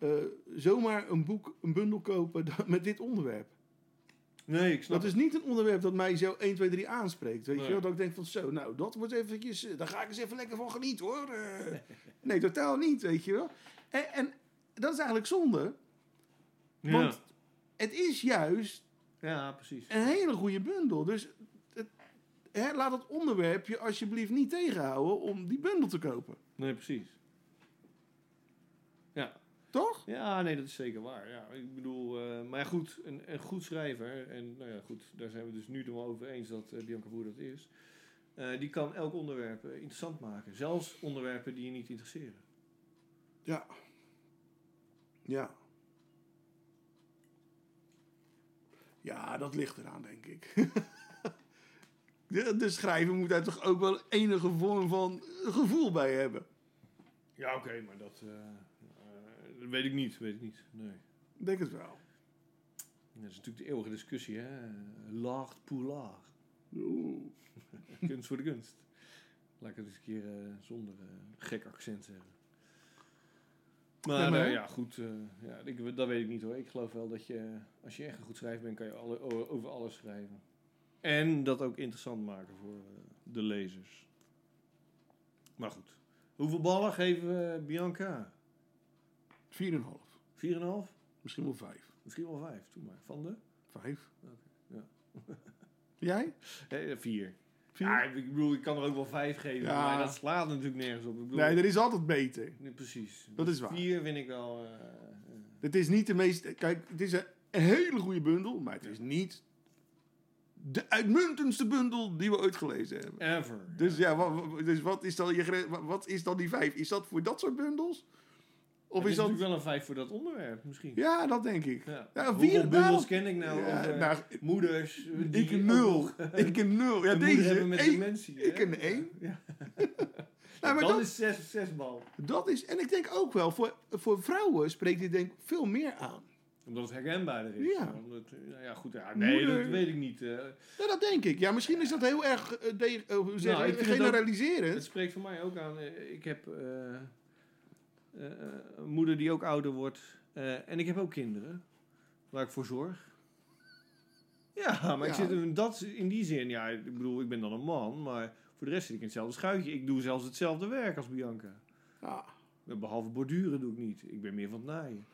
[SPEAKER 7] [laughs] zomaar een boek, een bundel kopen da- met dit onderwerp.
[SPEAKER 6] Nee, ik snap
[SPEAKER 7] Dat is niet een onderwerp dat mij zo 1, 2, 3 aanspreekt. Weet
[SPEAKER 6] Nee.
[SPEAKER 7] je wel? Dat ik denk van zo, nou, dat wordt eventjes... eh, Daar ga ik eens even lekker van genieten, hoor. Eh, nee, totaal niet, weet je wel. En, en dat is eigenlijk zonde.
[SPEAKER 6] het.
[SPEAKER 7] want- Het is juist
[SPEAKER 6] ja. ja, precies.
[SPEAKER 7] een hele goede bundel. Dus het, hè, laat het onderwerp je alsjeblieft niet tegenhouden om die bundel te kopen.
[SPEAKER 6] Nee, precies. Ja,
[SPEAKER 7] Toch?
[SPEAKER 6] Ja, nee, dat is zeker waar. Ja, ik bedoel, eh, maar goed, een, een goed schrijver, en nou ja, goed, daar zijn we dus nu toch wel over eens dat eh, Bianca Boer dat is. eh, die kan elk onderwerp eh, interessant maken. Zelfs onderwerpen die je niet interesseren.
[SPEAKER 7] Ja. Ja. Ja, dat ligt eraan, denk ik. [laughs] de, de schrijver moet daar toch ook wel enige vorm van gevoel bij hebben.
[SPEAKER 6] Ja, oké, maar dat, eh, weet ik niet. Weet ik niet. Nee.
[SPEAKER 7] Ik Denk het wel.
[SPEAKER 6] Dat is natuurlijk de eeuwige discussie, hè? Laag pour laag.
[SPEAKER 7] Oeh.
[SPEAKER 6] kunst voor de kunst. Laat ik het eens een keer eh, zonder eh, gek accent zeggen. Maar,
[SPEAKER 7] Ja, maar-
[SPEAKER 6] eh, ja, goed. eh, ja, ik, dat weet ik niet hoor. Ik geloof wel dat je, eh, als je echt een goed schrijver bent, kan je alle, o- over alles schrijven. En dat ook interessant maken voor eh, de lezers. Maar goed. Hoeveel ballen geven we Bianca? 4,5?
[SPEAKER 7] 4,5. Misschien wel 5.
[SPEAKER 6] Misschien wel 5. Doe maar. Van de?
[SPEAKER 7] 5.
[SPEAKER 6] ja.
[SPEAKER 7] Jij?
[SPEAKER 6] 4.
[SPEAKER 7] Vier?
[SPEAKER 6] Ja, ik bedoel, ik kan er ook wel 5 geven.
[SPEAKER 7] Ja.
[SPEAKER 6] Maar dat slaat natuurlijk nergens op. Ik bedoel,
[SPEAKER 7] Nee, er is altijd beter.
[SPEAKER 6] Nee, precies.
[SPEAKER 7] Dat is waar.
[SPEAKER 6] Vier vind ik wel. eh,
[SPEAKER 7] Het is niet de meest. Kijk, het is een hele goede bundel, maar het is niet de uitmuntendste bundel die we ooit gelezen hebben.
[SPEAKER 6] eh, ever.
[SPEAKER 7] Dus ja, wat, dus wat, is dan je, gre- wa- wat is dan die vijf? Is dat voor dat soort bundels? Of
[SPEAKER 6] Het
[SPEAKER 7] is dat...
[SPEAKER 6] natuurlijk wel een vijf voor dat onderwerp, misschien.
[SPEAKER 7] Ja, dat denk ik.
[SPEAKER 6] Ja.
[SPEAKER 7] Ja, vier-
[SPEAKER 6] Hoeveel bubbels
[SPEAKER 7] daarom-
[SPEAKER 6] ken ik nou?
[SPEAKER 7] Ja,
[SPEAKER 6] over
[SPEAKER 7] nou,
[SPEAKER 6] moeders. eh, die
[SPEAKER 7] ik een
[SPEAKER 6] ook
[SPEAKER 7] nul.
[SPEAKER 6] nog
[SPEAKER 7] Ik een nul. Ja,
[SPEAKER 6] een moeder
[SPEAKER 7] deze.
[SPEAKER 6] hebben met
[SPEAKER 7] één.
[SPEAKER 6] dementie. hè?
[SPEAKER 7] ik een één.
[SPEAKER 6] [laughs] Ja.
[SPEAKER 7] [laughs] Nou, maar
[SPEAKER 6] dan
[SPEAKER 7] dat,
[SPEAKER 6] is zes, zes bal.
[SPEAKER 7] dat is... En ik denk ook wel, voor, voor vrouwen spreekt dit denk ik veel meer aan.
[SPEAKER 6] Omdat het herkenbaarder is.
[SPEAKER 7] Ja.
[SPEAKER 6] Omdat, eh, nou ja, goed. Ja, nee,
[SPEAKER 7] Moeder.
[SPEAKER 6] dat weet ik niet. eh.
[SPEAKER 7] Ja, dat denk ik. Ja, misschien is dat heel erg eh, de- eh, hoe zeg
[SPEAKER 6] Nou,
[SPEAKER 7] je,
[SPEAKER 6] ik vind het ook-
[SPEAKER 7] generaliserend.
[SPEAKER 6] Het spreekt voor mij ook aan. eh, Ik heb eh, eh, een moeder die ook ouder wordt. eh, en ik heb ook kinderen. Waar ik voor zorg. Ja, maar Ik
[SPEAKER 7] Ja.
[SPEAKER 6] zit in, dat, in die zin. Ja, ik bedoel, ik ben dan een man. Maar voor de rest zit ik in hetzelfde schuitje. Ik doe zelfs hetzelfde werk als Bianca.
[SPEAKER 7] Ja.
[SPEAKER 6] Behalve borduren doe ik niet. Ik ben meer van het
[SPEAKER 7] [laughs]
[SPEAKER 6] naaien.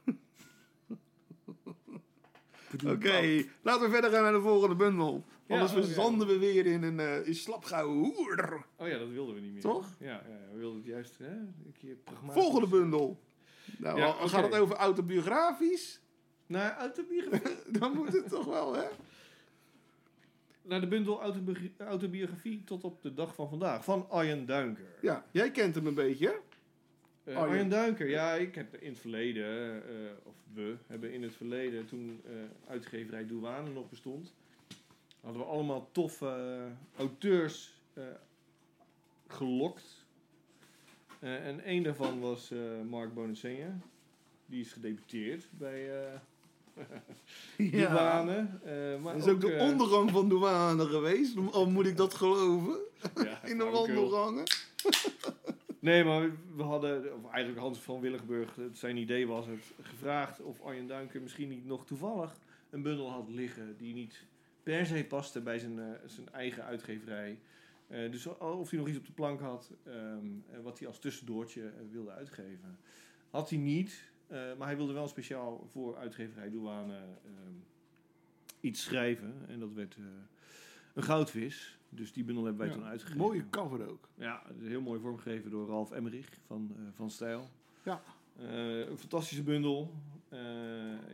[SPEAKER 7] Oké, laten we verder gaan naar de volgende bundel.
[SPEAKER 6] Ja,
[SPEAKER 7] Anders
[SPEAKER 6] oké.
[SPEAKER 7] verzanden we weer in een eh, in slapgouden hoer.
[SPEAKER 6] Oh ja, dat wilden we niet meer.
[SPEAKER 7] Toch?
[SPEAKER 6] Ja, ja we wilden het juist. Hè? Een keer pragmatisch.
[SPEAKER 7] Volgende bundel. Nou,
[SPEAKER 6] Ja,
[SPEAKER 7] al-
[SPEAKER 6] oké.
[SPEAKER 7] gaat het over autobiografisch?
[SPEAKER 6] Naar autobiografie.
[SPEAKER 7] Dan moet het toch wel, hè?
[SPEAKER 6] Naar de bundel autobiogra- autobiografie tot op de dag van vandaag. Van Arjen Duinker.
[SPEAKER 7] Ja, jij kent hem een beetje,
[SPEAKER 6] [laughs]
[SPEAKER 7] hè?
[SPEAKER 6] Eh,
[SPEAKER 7] Arjen.
[SPEAKER 6] Arjen Duinker, ja, ik heb in het verleden, eh, of we hebben in het verleden, toen eh, uitgeverij Douane nog bestond, hadden we allemaal toffe eh, auteurs eh, gelokt. Eh, en één daarvan was eh, Mark Bonacenha. Die is gedeputeerd bij eh Douane. Eh, maar
[SPEAKER 7] Dat is ook de
[SPEAKER 6] eh,
[SPEAKER 7] ondergang van douane geweest, al moet ik dat geloven,
[SPEAKER 6] ja,
[SPEAKER 7] [laughs] in de
[SPEAKER 6] flauwekul.
[SPEAKER 7] wandelgangen.
[SPEAKER 6] Nee, maar we hadden, of eigenlijk Hans van Willigenburg, het- zijn idee was het, gevraagd of Arjen Duinker misschien niet nog toevallig een bundel had liggen die niet per se paste bij zijn, eh, zijn eigen uitgeverij. Eh, dus of hij nog iets op de plank had, ehm, eh, wat hij als tussendoortje eh, wilde uitgeven. Had hij niet, eh, maar hij wilde wel speciaal voor uitgeverij Douane ehm, iets schrijven. En dat werd eh, een goudvis. Dus die bundel hebben wij
[SPEAKER 7] Ja,
[SPEAKER 6] toen uitgegeven.
[SPEAKER 7] Mooie cover ook.
[SPEAKER 6] Ja, het is heel mooi vormgegeven door Ralf Emmerich van, eh, van Stijl.
[SPEAKER 7] Ja.
[SPEAKER 6] Eh, een fantastische bundel. Eh,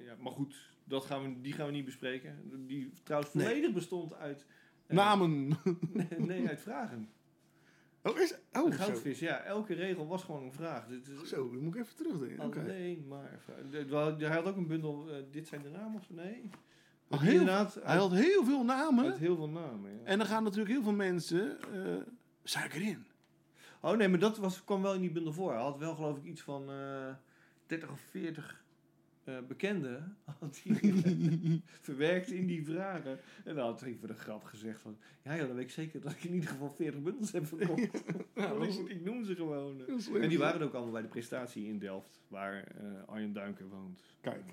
[SPEAKER 6] ja, maar goed, dat gaan we, die gaan we niet bespreken. Die trouwens
[SPEAKER 7] Nee.
[SPEAKER 6] volledig bestond uit... eh,
[SPEAKER 7] Namen.
[SPEAKER 6] [laughs] nee, uit vragen.
[SPEAKER 7] Oh, is
[SPEAKER 6] Een
[SPEAKER 7] Oh, zo.
[SPEAKER 6] goudvis, ja. Elke regel was gewoon een vraag. Dit is
[SPEAKER 7] Zo, dan moet ik even
[SPEAKER 6] Oh,
[SPEAKER 7] terugdenken. Oké.
[SPEAKER 6] alleen maar... vragen. De- wel, Hij had ook een bundel, eh, dit zijn de namen of nee?
[SPEAKER 7] Oh,
[SPEAKER 6] Die
[SPEAKER 7] heel,
[SPEAKER 6] inderdaad,
[SPEAKER 7] hij
[SPEAKER 6] uit,
[SPEAKER 7] had heel veel
[SPEAKER 6] eh, uit
[SPEAKER 7] namen.
[SPEAKER 6] heel veel namen, ja.
[SPEAKER 7] En dan gaan natuurlijk heel veel mensen... eh sta ik erin?
[SPEAKER 6] Oh nee, maar dat was, kwam wel in die bundel voor. Hij had wel geloof ik iets van eh 30 of 40 eh, bekenden [laughs] had hij, eh, verwerkt in die vragen. En dan had hij voor de grap gezegd van... Ja joh, dan weet ik zeker dat ik in ieder geval 40 bundels heb verkocht. Want ik, ik noem ze gewoon. eh. En die waren ook allemaal bij de prestatie in Delft, waar eh, Arjen Duinker woont.
[SPEAKER 7] Kijk.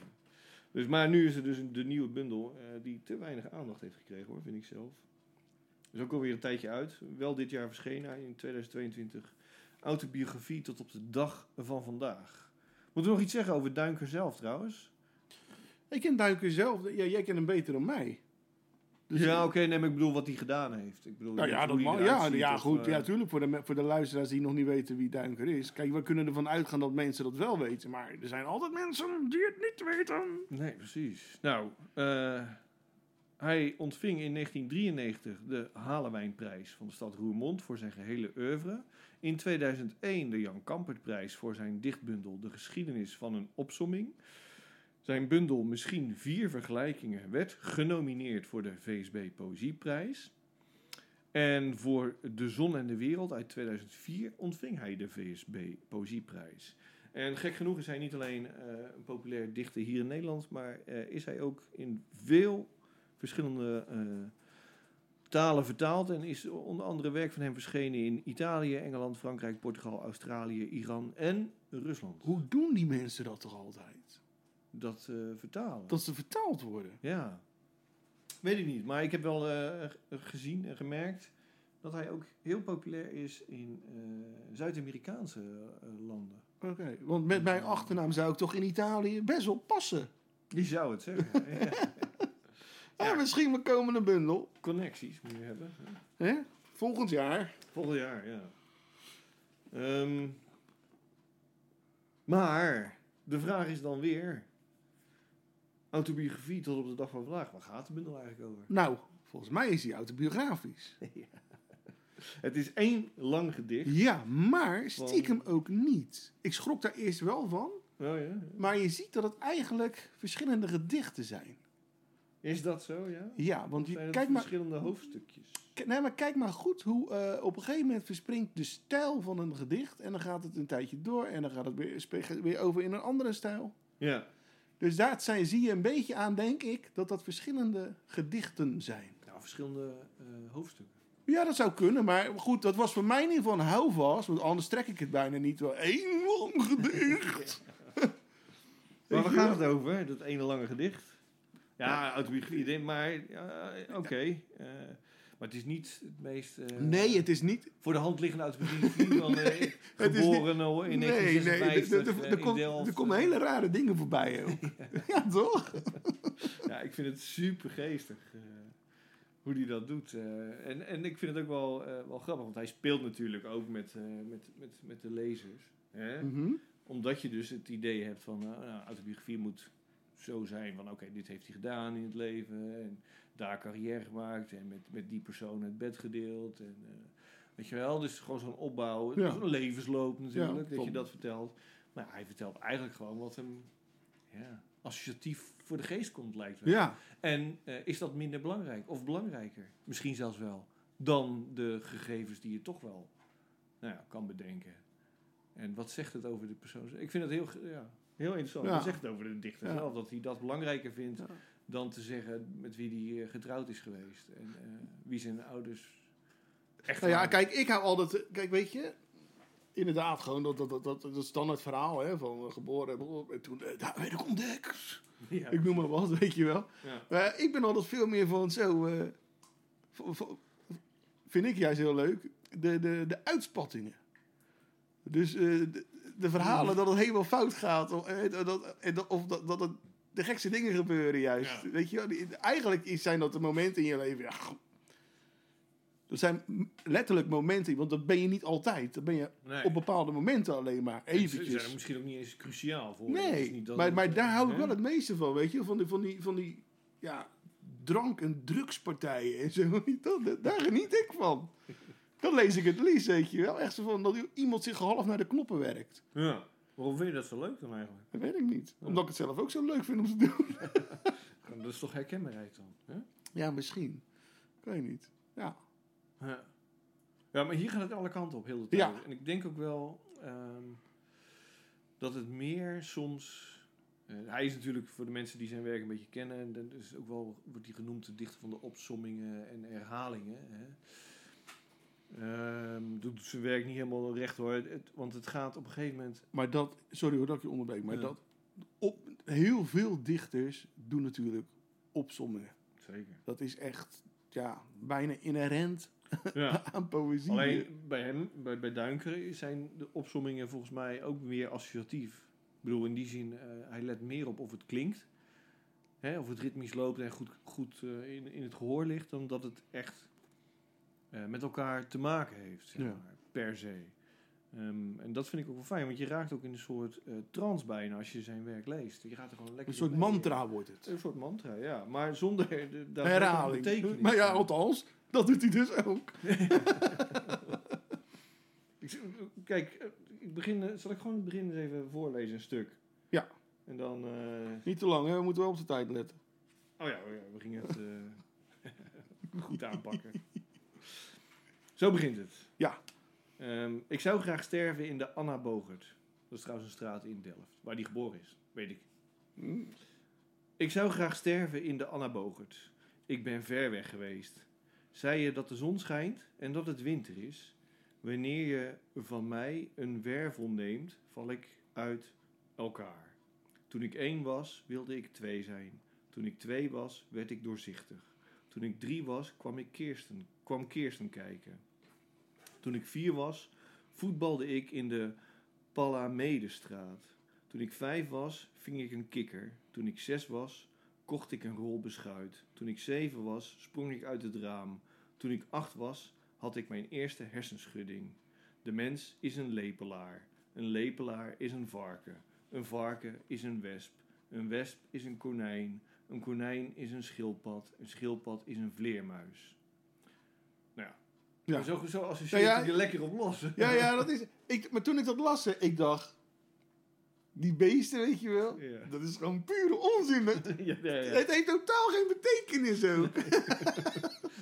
[SPEAKER 6] Dus, maar nu is er dus de nieuwe bundel eh, die te weinig aandacht heeft gekregen, hoor, vind ik zelf. Is ook alweer een tijdje uit. Wel dit jaar verschenen, in 2022. Autobiografie tot op de dag van vandaag. Moeten we nog iets zeggen over Duinker zelf trouwens?
[SPEAKER 7] Ik ken Duiker zelf. Ja, jij kent hem beter dan mij. Dus-
[SPEAKER 6] ja, oké, nee, maar ik bedoel wat hij gedaan heeft. Ik bedoel,
[SPEAKER 7] Nou ja,
[SPEAKER 6] hoe
[SPEAKER 7] dat
[SPEAKER 6] hij
[SPEAKER 7] mag.
[SPEAKER 6] eruit
[SPEAKER 7] Ja,
[SPEAKER 6] ziet
[SPEAKER 7] ja
[SPEAKER 6] of,
[SPEAKER 7] goed.
[SPEAKER 6] eh,
[SPEAKER 7] Ja, tuurlijk. Voor de, me- voor de luisteraars die nog niet weten wie Duinker is. Kijk, we kunnen ervan uitgaan dat mensen dat wel weten. Maar er zijn altijd mensen die het niet weten.
[SPEAKER 6] Nee, precies. Nou, eh, hij ontving in 1993 de Halewijnprijs van de stad Roermond voor zijn gehele oeuvre. In 2001 de Jan Kampertprijs voor zijn dichtbundel De Geschiedenis van een Opsomming. Zijn bundel Misschien vier vergelijkingen werd genomineerd voor de VSB Poëzieprijs. En voor De Zon en de Wereld uit 2004 ontving hij de VSB Poëzieprijs. En gek genoeg is hij niet alleen eh, een populair dichter hier in Nederland, maar eh, is hij ook in veel verschillende eh, talen vertaald. En is onder andere werk van hem verschenen in Italië, Engeland, Frankrijk, Portugal, Australië, Iran en Rusland.
[SPEAKER 7] Hoe doen die mensen dat toch altijd?
[SPEAKER 6] Dat eh, vertalen.
[SPEAKER 7] Dat ze vertaald worden.
[SPEAKER 6] Ja. Weet ik niet, maar ik heb wel eh, g- gezien en gemerkt dat hij ook heel populair is in eh, Zuid-Amerikaanse eh, landen.
[SPEAKER 7] Oké. Want met mijn achternaam zou ik toch in Italië best wel passen.
[SPEAKER 6] Die zou het zeggen.
[SPEAKER 7] [laughs]
[SPEAKER 6] ja.
[SPEAKER 7] Ah, misschien we komen een bundel.
[SPEAKER 6] Connecties moet je hebben.
[SPEAKER 7] Hè? Volgend jaar.
[SPEAKER 6] Volgend jaar, ja. Ehm, maar de vraag is dan weer: autobiografie tot op de dag van vandaag, waar gaat de bundel eigenlijk over?
[SPEAKER 7] Nou, volgens mij is die autobiografisch.
[SPEAKER 6] Het is één lang gedicht.
[SPEAKER 7] Ja, maar stiekem ook niet. Ik schrok daar eerst wel van.
[SPEAKER 6] Oh ja.
[SPEAKER 7] Maar je ziet dat het eigenlijk verschillende gedichten zijn.
[SPEAKER 6] Is dat zo, ja?
[SPEAKER 7] Ja, want
[SPEAKER 6] Zijn
[SPEAKER 7] je,
[SPEAKER 6] het
[SPEAKER 7] kijk, maar,
[SPEAKER 6] verschillende hoofdstukjes?
[SPEAKER 7] k- nee, maar kijk maar goed hoe eh, op een gegeven moment verspringt de stijl van een gedicht. En dan gaat het een tijdje door en dan gaat het weer, spe- weer over in een andere stijl.
[SPEAKER 6] Ja.
[SPEAKER 7] Dus daar zijn, zie je een beetje aan, denk ik, dat dat verschillende gedichten zijn.
[SPEAKER 6] Nou, verschillende eh, hoofdstukken.
[SPEAKER 7] Ja, dat zou kunnen, maar goed, dat was voor mij in ieder geval een houvast. Want anders trek ik het bijna niet. Wel één lang gedicht.
[SPEAKER 6] Maar waar
[SPEAKER 7] Weet je
[SPEAKER 6] gaat
[SPEAKER 7] wel?
[SPEAKER 6] het over, dat ene lange gedicht? Ja, autobiografie, dit, maar ja, oké. eh, maar het is niet het meest... eh,
[SPEAKER 7] Nee, het is niet.
[SPEAKER 6] voor de hand liggende autobiografie
[SPEAKER 7] [laughs]
[SPEAKER 6] van eh,
[SPEAKER 7] Het is
[SPEAKER 6] geboren al in
[SPEAKER 7] Nee, nee, er-
[SPEAKER 6] 1956
[SPEAKER 7] er- er-
[SPEAKER 6] eh,
[SPEAKER 7] er
[SPEAKER 6] in
[SPEAKER 7] komt-
[SPEAKER 6] Delft.
[SPEAKER 7] er komen hele rare dingen voorbij ook. Ja, toch?
[SPEAKER 6] Ja, ik vind het super geestig hoe hij dat doet. eh. en, en ik vind het ook wel, eh, wel grappig, want hij speelt natuurlijk ook met, eh, met, met, met de lezers. Hè?
[SPEAKER 7] Mhm.
[SPEAKER 6] Omdat je dus het idee hebt van, eh, nou, autobiografie moet zo zijn van, oké, dit heeft hij gedaan in het leven. En daar carrière gemaakt en met, met die persoon het bed gedeeld. En, eh, weet je wel, dus gewoon zo'n opbouw,
[SPEAKER 7] Ja.
[SPEAKER 6] zo'n levensloop
[SPEAKER 7] Ja,
[SPEAKER 6] natuurlijk, dat je
[SPEAKER 7] klopt.
[SPEAKER 6] dat vertelt. Maar hij vertelt eigenlijk gewoon wat hem ja, associatief voor de geest komt, lijkt wel.
[SPEAKER 7] Ja,
[SPEAKER 6] En eh, is dat minder belangrijk of belangrijker? Misschien zelfs wel. Dan de gegevens die je toch wel nou ja, kan bedenken. En wat zegt het over de persoon? zelf? Ik vind het heel, ge- ja, heel interessant.
[SPEAKER 7] Ja.
[SPEAKER 6] Wat zegt het over de dichter
[SPEAKER 7] Ja.
[SPEAKER 6] zelf? Dat hij dat belangrijker vindt
[SPEAKER 7] Ja.
[SPEAKER 6] dan te zeggen met wie hij eh, getrouwd is geweest. En eh, wie zijn ouders echt
[SPEAKER 7] nou ja,
[SPEAKER 6] waren.
[SPEAKER 7] kijk, ik hou altijd... Kijk, weet je... Inderdaad, gewoon dat, dat, dat, dat, dat standaard verhaal, hè. Van eh, geboren en- en toen... eh, Daar werd ik ontdekt.
[SPEAKER 6] Ja.
[SPEAKER 7] Ik noem maar wat, weet je wel.
[SPEAKER 6] Ja.
[SPEAKER 7] Maar ik ben altijd veel meer van zo... eh, v- v- vind ik juist heel leuk. De, de, de uitspattingen. Dus eh, de, de verhalen
[SPEAKER 6] Mm.
[SPEAKER 7] dat het helemaal fout gaat. Of, eh, dat- dat, en dat- of dat, dat het de gekste dingen gebeuren juist.
[SPEAKER 6] Ja.
[SPEAKER 7] Weet je wel? Die- Eigenlijk is- zijn dat de momenten in je leven... Ja, goh. dat zijn m- letterlijk momenten, want dat ben je niet altijd. Dat ben je
[SPEAKER 6] Nee.
[SPEAKER 7] op bepaalde momenten alleen maar.
[SPEAKER 6] Ze zijn er
[SPEAKER 7] Eventjes.
[SPEAKER 6] misschien ook niet eens cruciaal voor. Het is
[SPEAKER 7] Nee,
[SPEAKER 6] niet dat
[SPEAKER 7] maar,
[SPEAKER 6] het,
[SPEAKER 7] maar
[SPEAKER 6] eh,
[SPEAKER 7] daar hou ik
[SPEAKER 6] hè?
[SPEAKER 7] wel het meeste van, weet je? Van die, van die, van die ja, drank- en drugspartijen en zo. [laughs] weet je wel. Da- Daar geniet ik van. Dan lees ik het liefst, weet je wel. Echt zo van dat iemand zich half naar de knoppen werkt.
[SPEAKER 6] Ja. Waarom vind je dat zo leuk dan eigenlijk?
[SPEAKER 7] Dat weet ik niet. Omdat ik het zelf ook zo leuk vind om te doen. [laughs]
[SPEAKER 6] Dat is toch herkenbaarheid dan? Hè?
[SPEAKER 7] Ja, misschien. Ik weet niet. Ja.
[SPEAKER 6] Ja. ja, maar hier gaat het alle kanten op, heel de tijd.
[SPEAKER 7] Ja.
[SPEAKER 6] En ik denk ook wel ehm, dat het meer soms... eh, hij is natuurlijk voor de mensen die zijn werk een beetje kennen... en dat is ook wel, wordt hij genoemd de dichter van de opsommingen en herhalingen. Hè? Ehm, doet zijn werk niet helemaal recht hoor. Het- want het gaat op een gegeven moment...
[SPEAKER 7] Maar dat, sorry hoor dat ik je onderbreek, maar
[SPEAKER 6] Ja.
[SPEAKER 7] dat op, heel veel dichters doen natuurlijk opzommingen. [laughs]
[SPEAKER 6] Zeker.
[SPEAKER 7] Dat is echt ja, bijna inherent
[SPEAKER 6] Ja.
[SPEAKER 7] aan poëzie.
[SPEAKER 6] Alleen bij hem, bij, bij Duinkeren, zijn de opsommingen volgens mij ook meer associatief. Ik bedoel, in die zin, eh, hij let meer op of het klinkt. Hè, of het ritmisch loopt en goed, goed eh, in, in het gehoor ligt, dan dat het echt eh, met elkaar te maken heeft, zeg
[SPEAKER 7] Ja.
[SPEAKER 6] maar, per se. Ehm, en dat vind ik ook wel fijn, want je raakt ook in een soort eh trance bijna als je zijn werk leest. Je gaat er gewoon lekker
[SPEAKER 7] Een soort
[SPEAKER 6] in mee.
[SPEAKER 7] mantra wordt het.
[SPEAKER 6] Een soort mantra, ja. Maar zonder de, daar
[SPEAKER 7] Herhaling.
[SPEAKER 6] betekenis
[SPEAKER 7] Maar ja,
[SPEAKER 6] aan.
[SPEAKER 7] althans, dat doet hij dus ook.
[SPEAKER 6] Ik z- Kijk, eh, ik begin, eh, zal ik gewoon het begin eens even voorlezen, een stuk?
[SPEAKER 7] Ja.
[SPEAKER 6] En dan... eh,
[SPEAKER 7] Niet te lang, hè? we moeten wel op de tijd letten.
[SPEAKER 6] oh ja, oh ja, we gingen het eh, goed aanpakken. Zo begint het.
[SPEAKER 7] Ja.
[SPEAKER 6] Ehm, ik zou graag sterven in de Anna Bogert. Dat is trouwens een straat in Delft, waar die geboren is, weet ik. Ik zou graag sterven in de Anna Bogert. Ik ben ver weg geweest. Zei je dat de zon schijnt en dat het winter is? Wanneer je van mij een wervel neemt, val ik uit elkaar. Toen ik één was, wilde ik twee zijn. Toen ik twee was, werd ik doorzichtig. Toen ik drie was, kwam, ik Kirsten, kwam Kirsten kijken. Toen ik vier was, voetbalde ik in de Palamedestraat. Toen ik vijf was, ving ik een kikker. Toen ik zes was, kocht ik een rol beschuit. Toen ik zeven was, sprong ik uit het raam. Toen ik acht was, had ik mijn eerste hersenschudding. De mens is een lepelaar. Een lepelaar is een varken. Een varken is een wesp. Een wesp is een konijn. Een konijn is een schildpad. Een schildpad is een vleermuis. Nou ja.
[SPEAKER 7] Ja. Nou
[SPEAKER 6] Zo, zo associeer je
[SPEAKER 7] Ja, ja.
[SPEAKER 6] er lekker op los.
[SPEAKER 7] Ja, ja, dat is... Ik, maar toen ik dat las, hè, ik dacht... Die beesten, weet je wel?
[SPEAKER 6] Ja.
[SPEAKER 7] Dat is gewoon pure onzin. hè?
[SPEAKER 6] [laughs] Ja, ja, ja.
[SPEAKER 7] Het heeft totaal geen betekenis ook.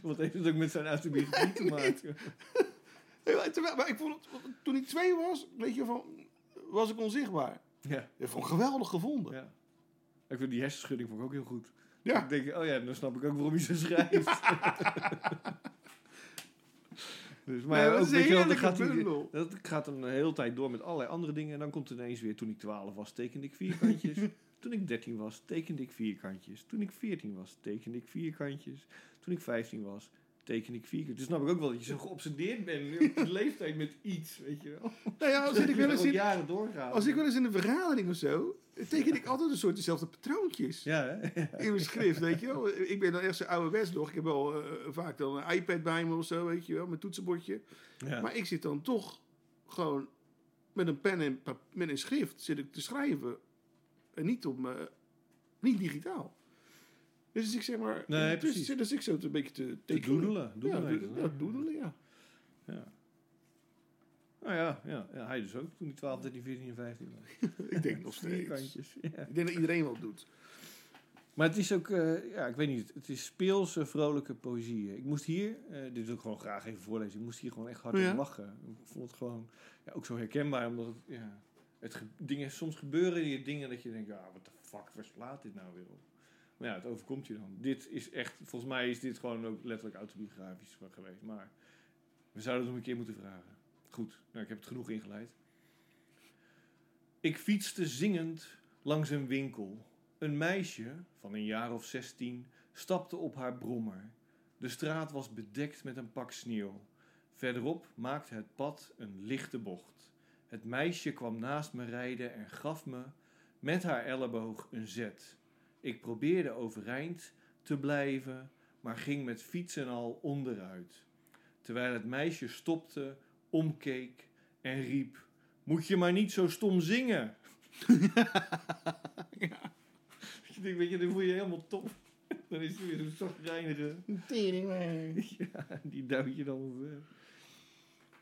[SPEAKER 6] Wat heeft het ook met zijn autobiografie [laughs] te maken?
[SPEAKER 7] Ja, [laughs] Terwijl, maar ik vond het, toen ik twee was, weet je, van, was ik onzichtbaar.
[SPEAKER 6] Ja,
[SPEAKER 7] Ik vond het geweldig gevonden.
[SPEAKER 6] ja. Ik vind die hersenschudding vond ik ook heel goed.
[SPEAKER 7] Ja.
[SPEAKER 6] Ik denk, oh ja, dan snap ik ook waarom je zo schrijft. dus, maar
[SPEAKER 7] Nee,
[SPEAKER 6] ja,
[SPEAKER 7] dat
[SPEAKER 6] ook,
[SPEAKER 7] is een
[SPEAKER 6] weet je wel, dan
[SPEAKER 7] heerlijke
[SPEAKER 6] gaat hij-
[SPEAKER 7] bundel.
[SPEAKER 6] dat gaat hem de hele tijd door met allerlei andere dingen. En dan komt ineens weer, toen ik 12 was, tekende ik vierkantjes. toen ik 13 was, tekende ik vierkantjes. Toen ik 14 was, tekende ik vierkantjes. Toen ik 15 was, tekende ik vierkantjes. Dus snap ik ook wel dat je zo geobsedeerd bent op de [laughs] leeftijd met iets, weet je wel.
[SPEAKER 7] Nou
[SPEAKER 6] [laughs]
[SPEAKER 7] ja, als ik, wel eens
[SPEAKER 6] al
[SPEAKER 7] in,
[SPEAKER 6] jaren doorgaan.
[SPEAKER 7] als ik wel eens in een vergadering of zo, teken ik altijd een soort dezelfde patroontjes.
[SPEAKER 6] Ja, hè? [laughs]
[SPEAKER 7] in mijn schrift, weet je wel. Ik ben dan echt zo'n ouderwets nog. Ik heb wel eh, vaak dan een iPad bij me of zo, weet je wel, mijn toetsenbordje.
[SPEAKER 6] Ja.
[SPEAKER 7] Maar ik zit dan toch gewoon met een pen en pap- met een schrift zit ik te schrijven. En niet op mijn, niet digitaal. Dus ik zeg maar,
[SPEAKER 6] Nee,
[SPEAKER 7] dus,
[SPEAKER 6] precies.
[SPEAKER 7] dus ik zo een beetje te
[SPEAKER 6] Te
[SPEAKER 7] tekenen.
[SPEAKER 6] doedelen. doedelen
[SPEAKER 7] ja,
[SPEAKER 6] heet het,
[SPEAKER 7] doe-
[SPEAKER 6] hè?
[SPEAKER 7] ja, doedelen, ja.
[SPEAKER 6] Ja. Nou ja, ja, ja, hij dus ook toen hij 12, 13, 14 en 15 was.
[SPEAKER 7] Ik denk nog steeds.
[SPEAKER 6] Vierkantjes, ja.
[SPEAKER 7] Ik denk dat iedereen wel doet.
[SPEAKER 6] Maar het is ook, eh, ja, ik weet niet, het is speelse, vrolijke poëzie. Ik moest hier, eh, dit wil ik gewoon graag even voorlezen, ik moest hier gewoon echt hard
[SPEAKER 7] Oh ja?
[SPEAKER 6] om lachen. Ik vond het gewoon ja, ook zo herkenbaar, omdat het, ja, het ge- dingen, soms gebeuren hier dingen dat je denkt, ja, wat de fuck, waar slaat dit nou weer op? Maar ja, het overkomt je dan. Dit is echt, volgens mij is dit gewoon ook letterlijk autobiografisch van geweest, maar we zouden het hem een keer moeten vragen. Goed, nou, ik heb het genoeg ingeleid. Ik fietste zingend langs een winkel. Een meisje van een jaar of zestien stapte op haar brommer. De straat was bedekt met een pak sneeuw. Verderop maakte het pad een lichte bocht. Het meisje kwam naast me rijden en gaf me met haar elleboog een zet. Ik probeerde overeind te blijven, maar ging met fiets en al onderuit. Terwijl het meisje stopte, omkeek en riep: Moet je maar niet zo stom zingen! Ik denk, weet je, dan voel je je helemaal top. [laughs] Dan is hij weer zo'n zagrijnige. [laughs] Ja, die duwt je dan omver.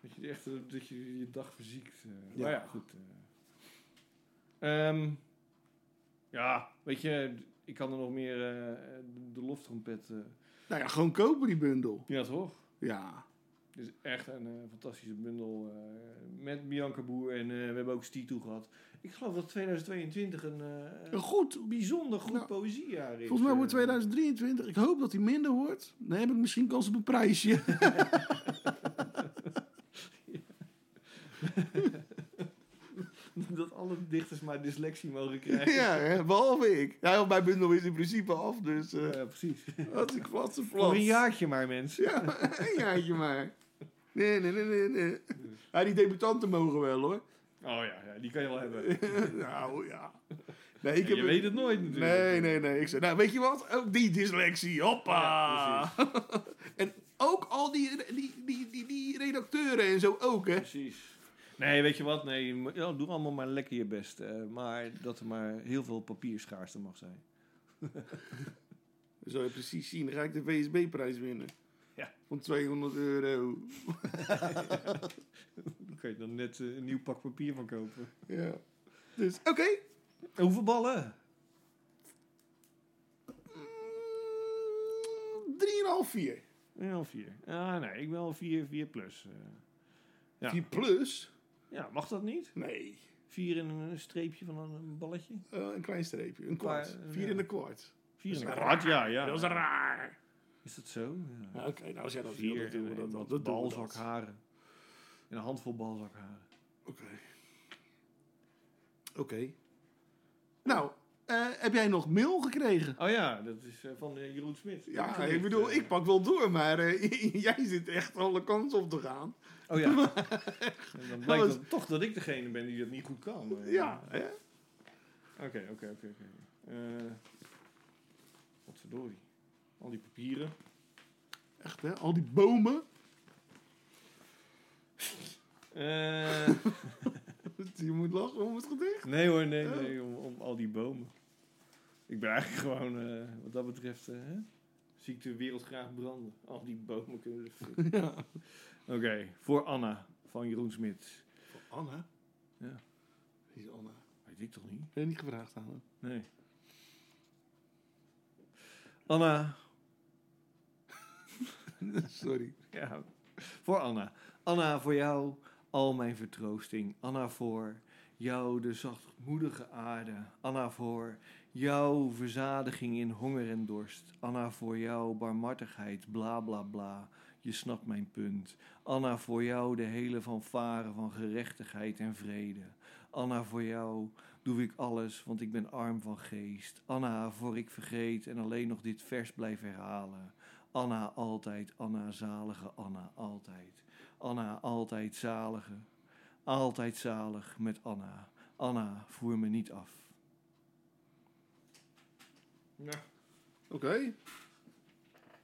[SPEAKER 6] Dat je echt eh, dat je, je dag verziekt. eh.
[SPEAKER 7] Ja.
[SPEAKER 6] Maar ja, goed. eh. Ehm, ja, weet je, ik kan er nog meer eh, de loftrompet. eh.
[SPEAKER 7] Nou ja, gewoon kopen die bundel.
[SPEAKER 6] Ja, toch?
[SPEAKER 7] Ja.
[SPEAKER 6] Dit is echt een eh, fantastische bundel eh, met Bianca Boer en eh, we hebben ook Stito gehad. Ik geloof dat 2022 een, eh,
[SPEAKER 7] Een Goed,
[SPEAKER 6] bijzonder goed
[SPEAKER 7] Nou,
[SPEAKER 6] poëziejaar is.
[SPEAKER 7] Volgens mij wordt
[SPEAKER 6] eh.
[SPEAKER 7] 2023. Ik hoop dat hij minder wordt. Dan heb ik misschien kans op een prijsje.
[SPEAKER 6] [laughs] dat alle dichters maar dyslexie mogen krijgen.
[SPEAKER 7] [laughs] Ja, hè, behalve ik. Ja, want mijn bundel is in principe af, dus [laughs] eh
[SPEAKER 6] Ja, precies.
[SPEAKER 7] hartstikke flatse plat.
[SPEAKER 6] Voor een jaartje maar, mensen.
[SPEAKER 7] [laughs] Ja, een jaartje maar. Nee, nee, nee, nee. nee. Ja, die debutanten mogen wel, hoor. [laughs]
[SPEAKER 6] Oh ja, ja, die kan je wel hebben.
[SPEAKER 7] nou, ja. Nee,
[SPEAKER 6] Ja,
[SPEAKER 7] ik heb...
[SPEAKER 6] je weet het nooit natuurlijk.
[SPEAKER 7] Nee, nee, nee. Ik zei, nou, weet je wat? Ook die dyslexie, hoppa!
[SPEAKER 6] Ja,
[SPEAKER 7] [laughs] en ook al die, die, die, die, die redacteuren en zo ook, hè?
[SPEAKER 6] Precies. Nee, weet je wat? Nee, je moet- ja, doe allemaal maar lekker je best. eh, maar dat er maar heel veel papierschaarste mag zijn.
[SPEAKER 7] Dan zal je precies zien, dan ga ik de VSB-prijs winnen.
[SPEAKER 6] Ja.
[SPEAKER 7] Van 200 euro.
[SPEAKER 6] Dan kan je dan net eh, een nieuw pak papier van kopen.
[SPEAKER 7] Ja. Dus, oké.
[SPEAKER 6] En hoeveel ballen?
[SPEAKER 7] Mm, 3,5, 4.
[SPEAKER 6] Ja, of vier. Ah, nee, ik wil vier, vier plus. eh. Ja.
[SPEAKER 7] 4 plus?
[SPEAKER 6] ja, mag dat niet?
[SPEAKER 7] Nee.
[SPEAKER 6] Vier en een streepje van een, een balletje?
[SPEAKER 7] Eh, een klein streepje. Een kwart.
[SPEAKER 6] Qua-
[SPEAKER 7] 4
[SPEAKER 6] ja.
[SPEAKER 7] en een kwart.
[SPEAKER 6] Vier en een
[SPEAKER 7] Dat is
[SPEAKER 6] kwart, ja, ja.
[SPEAKER 7] Dat is raar.
[SPEAKER 6] Is dat zo? Ja.
[SPEAKER 7] Ja, Oké, nou als jij dat wil,
[SPEAKER 6] Vier
[SPEAKER 7] dan doen we
[SPEAKER 6] en
[SPEAKER 7] dat.
[SPEAKER 6] wat
[SPEAKER 7] Dat, dat doen we dat.
[SPEAKER 6] balzakharen. En een handvol balzakharen.
[SPEAKER 7] Oké. Oké. Nou, eh, heb jij nog mail gekregen?
[SPEAKER 6] Oh ja, dat is eh, van eh, Jeroen Smit.
[SPEAKER 7] Ja,
[SPEAKER 6] Gedicht,
[SPEAKER 7] ik bedoel,
[SPEAKER 6] eh.
[SPEAKER 7] ik pak wel door, maar eh, [laughs] jij zit echt alle kanten op te gaan.
[SPEAKER 6] Oh
[SPEAKER 7] [laughs]
[SPEAKER 6] ja.
[SPEAKER 7] Nou,
[SPEAKER 6] en dan blijkt
[SPEAKER 7] was-
[SPEAKER 6] dan toch dat ik degene ben die dat niet goed kan. eh.
[SPEAKER 7] Ja, hè?
[SPEAKER 6] Oké, oké, oké. oké. Eh, Wat verdorie. Al die papieren.
[SPEAKER 7] echt hè? Al die bomen. [laughs]
[SPEAKER 6] Eh,
[SPEAKER 7] Je moet lachen om het gedicht.
[SPEAKER 6] nee hoor, nee, nee. Om, om al die bomen. Ik ben eigenlijk [laughs] gewoon, eh, wat dat betreft, eh, hè, zie ik de wereld graag branden. Al die bomen kunnen... de- Oké, voor Anna van Jeroen Smit.
[SPEAKER 7] Anna?
[SPEAKER 6] Ja.
[SPEAKER 7] Wie is Anna?
[SPEAKER 6] Weet ik toch niet?
[SPEAKER 7] Ben je niet gevraagd aan hem?
[SPEAKER 6] Nee. Anna,
[SPEAKER 7] [laughs] Sorry.
[SPEAKER 6] [laughs] Ja, voor Anna. Anna, voor jou al mijn vertroosting. Anna, voor jou de zachtmoedige aarde. Anna, voor jou verzadiging in honger en dorst. Anna, voor jou barmhartigheid, bla bla bla. Je snapt mijn punt. Anna, voor jou de hele fanfare van gerechtigheid en vrede. Anna, voor jou doe ik alles, want ik ben arm van geest. Anna, voor ik vergeet en alleen nog dit vers blijf herhalen. Anna altijd, Anna zalige, Anna altijd. Anna altijd zalige, altijd zalig met Anna. Anna, voer me niet af.
[SPEAKER 7] Oké.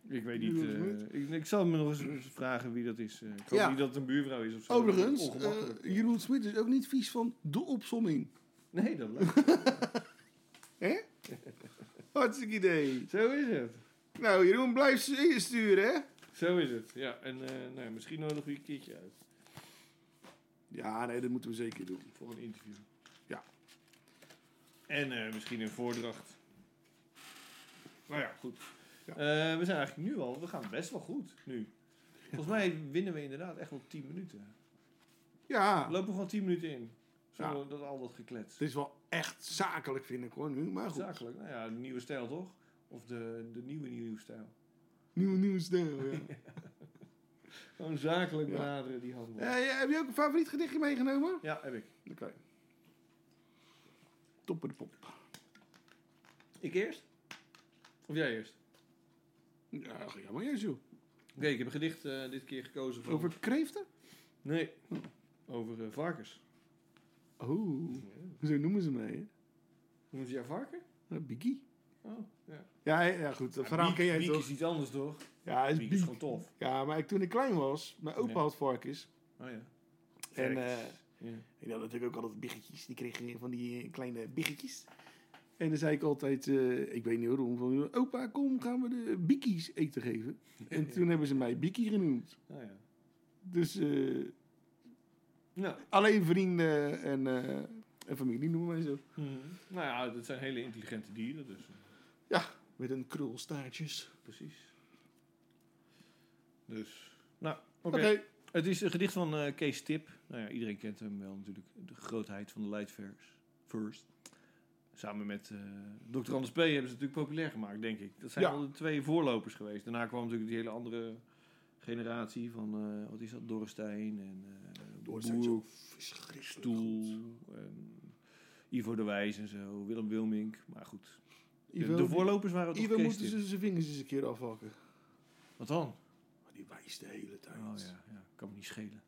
[SPEAKER 6] Ik weet niet,
[SPEAKER 7] Jeroen
[SPEAKER 6] eh,
[SPEAKER 7] Smit.
[SPEAKER 6] ik, ik zal me nog eens- eens vragen wie dat is. eh. ik hoop
[SPEAKER 7] Ja. Oh,
[SPEAKER 6] niet dat het een buurvrouw is of zo.
[SPEAKER 7] Overigens,
[SPEAKER 6] Ongemakkelijk.
[SPEAKER 7] eh, Jeroen Smit is ook niet vies van de opsomming.
[SPEAKER 6] Nee, dat blijft.
[SPEAKER 7] Hè? Hartstikke idee.
[SPEAKER 6] [laughs] zo is het.
[SPEAKER 7] Nou, Jeroen, blijf stu- sturen, hè?
[SPEAKER 6] Zo is het, ja. En eh, nou, ja, misschien nodig we je een keertje uit
[SPEAKER 7] Ja, nee, dat moeten we zeker doen.
[SPEAKER 6] voor een interview.
[SPEAKER 7] Ja.
[SPEAKER 6] En eh, misschien een voordracht. Nou ja, goed.
[SPEAKER 7] Ja.
[SPEAKER 6] Eh, we zijn eigenlijk nu al, we gaan best wel goed nu. Volgens mij winnen we inderdaad echt wel 10 minuten.
[SPEAKER 7] Ja,
[SPEAKER 6] Lopen we gewoon 10 minuten in. Zonder
[SPEAKER 7] Ja.
[SPEAKER 6] dat al dat geklets.
[SPEAKER 7] het is wel echt zakelijk, vind ik hoor, nu. Maar goed.
[SPEAKER 6] Zakelijk. Nou ja, de nieuwe stijl toch? Of de, de nieuwe nieuwe stijl.
[SPEAKER 7] Nieuw nieuws deel,
[SPEAKER 6] [laughs]
[SPEAKER 7] ja.
[SPEAKER 6] Gewoon zakelijk
[SPEAKER 7] Ja.
[SPEAKER 6] benaderen die handel.
[SPEAKER 7] Eh, ja, heb je ook een favoriet gedichtje meegenomen?
[SPEAKER 6] Ja, heb ik.
[SPEAKER 7] Oké. Topper de pop.
[SPEAKER 6] Ik eerst? Of jij eerst?
[SPEAKER 7] Ja, ga maar eerst, joh.
[SPEAKER 6] Oké, ik heb een gedicht eh, dit keer gekozen van...
[SPEAKER 7] Over kreeften?
[SPEAKER 6] Nee, over eh, varkens.
[SPEAKER 7] Oh, zo noemen ze mij, hè?
[SPEAKER 6] Noemen ze jou varken?
[SPEAKER 7] Nou, Biggie.
[SPEAKER 6] Oh, ja.
[SPEAKER 7] Ja, ja, goed. Dat verhaal ken jij
[SPEAKER 6] Biek
[SPEAKER 7] toch?
[SPEAKER 6] is iets anders toch?
[SPEAKER 7] Ja, hij is
[SPEAKER 6] Biek is
[SPEAKER 7] Biek.
[SPEAKER 6] gewoon tof.
[SPEAKER 7] Ja, maar ik- toen ik klein was, mijn opa
[SPEAKER 6] Ja.
[SPEAKER 7] had varkens.
[SPEAKER 6] Oh ja.
[SPEAKER 7] En
[SPEAKER 6] Varkens.
[SPEAKER 7] eh,
[SPEAKER 6] Ja.
[SPEAKER 7] ik had natuurlijk ook altijd biggetjes. Die kregen weer van die eh, kleine biggetjes. En dan zei ik altijd, eh, ik weet niet waarom, van opa, kom, gaan we de bikkies eten geven. En toen hebben ze mij Bikkie genoemd.
[SPEAKER 6] Oh, ja.
[SPEAKER 7] Dus eh,
[SPEAKER 6] Nou,
[SPEAKER 7] alleen vrienden en, eh, en familie noemen mij zo.
[SPEAKER 6] nou ja, dat zijn hele intelligente dieren, dus eh,
[SPEAKER 7] Met een krulstaartjes.
[SPEAKER 6] precies. Dus, nou, oké.
[SPEAKER 7] Oké.
[SPEAKER 6] Het is een gedicht van eh, Kees Tip. Nou ja, iedereen kent hem wel natuurlijk. De grootheid van de Leidsvers. First. Samen met eh Dr. Anders P. hebben ze het natuurlijk populair gemaakt, denk ik. Dat zijn
[SPEAKER 7] Ja.
[SPEAKER 6] al de twee voorlopers geweest. Daarna kwam natuurlijk die hele andere generatie van, eh, wat is dat, Dorrestein en eh
[SPEAKER 7] Door zijn
[SPEAKER 6] Boer,
[SPEAKER 7] zo verschrikkelijk.
[SPEAKER 6] Stoel. En, Ivo de Wijs en zo, Willem Wilmink. Maar goed, de-
[SPEAKER 7] Ivo,
[SPEAKER 6] de voorlopers waren toch
[SPEAKER 7] Ivo moeten
[SPEAKER 6] Christen?
[SPEAKER 7] ze zijn vingers eens een keer afhakken.
[SPEAKER 6] Wat dan?
[SPEAKER 7] Maar die wijst de hele tijd.
[SPEAKER 6] Oh ja, ja, kan me niet schelen.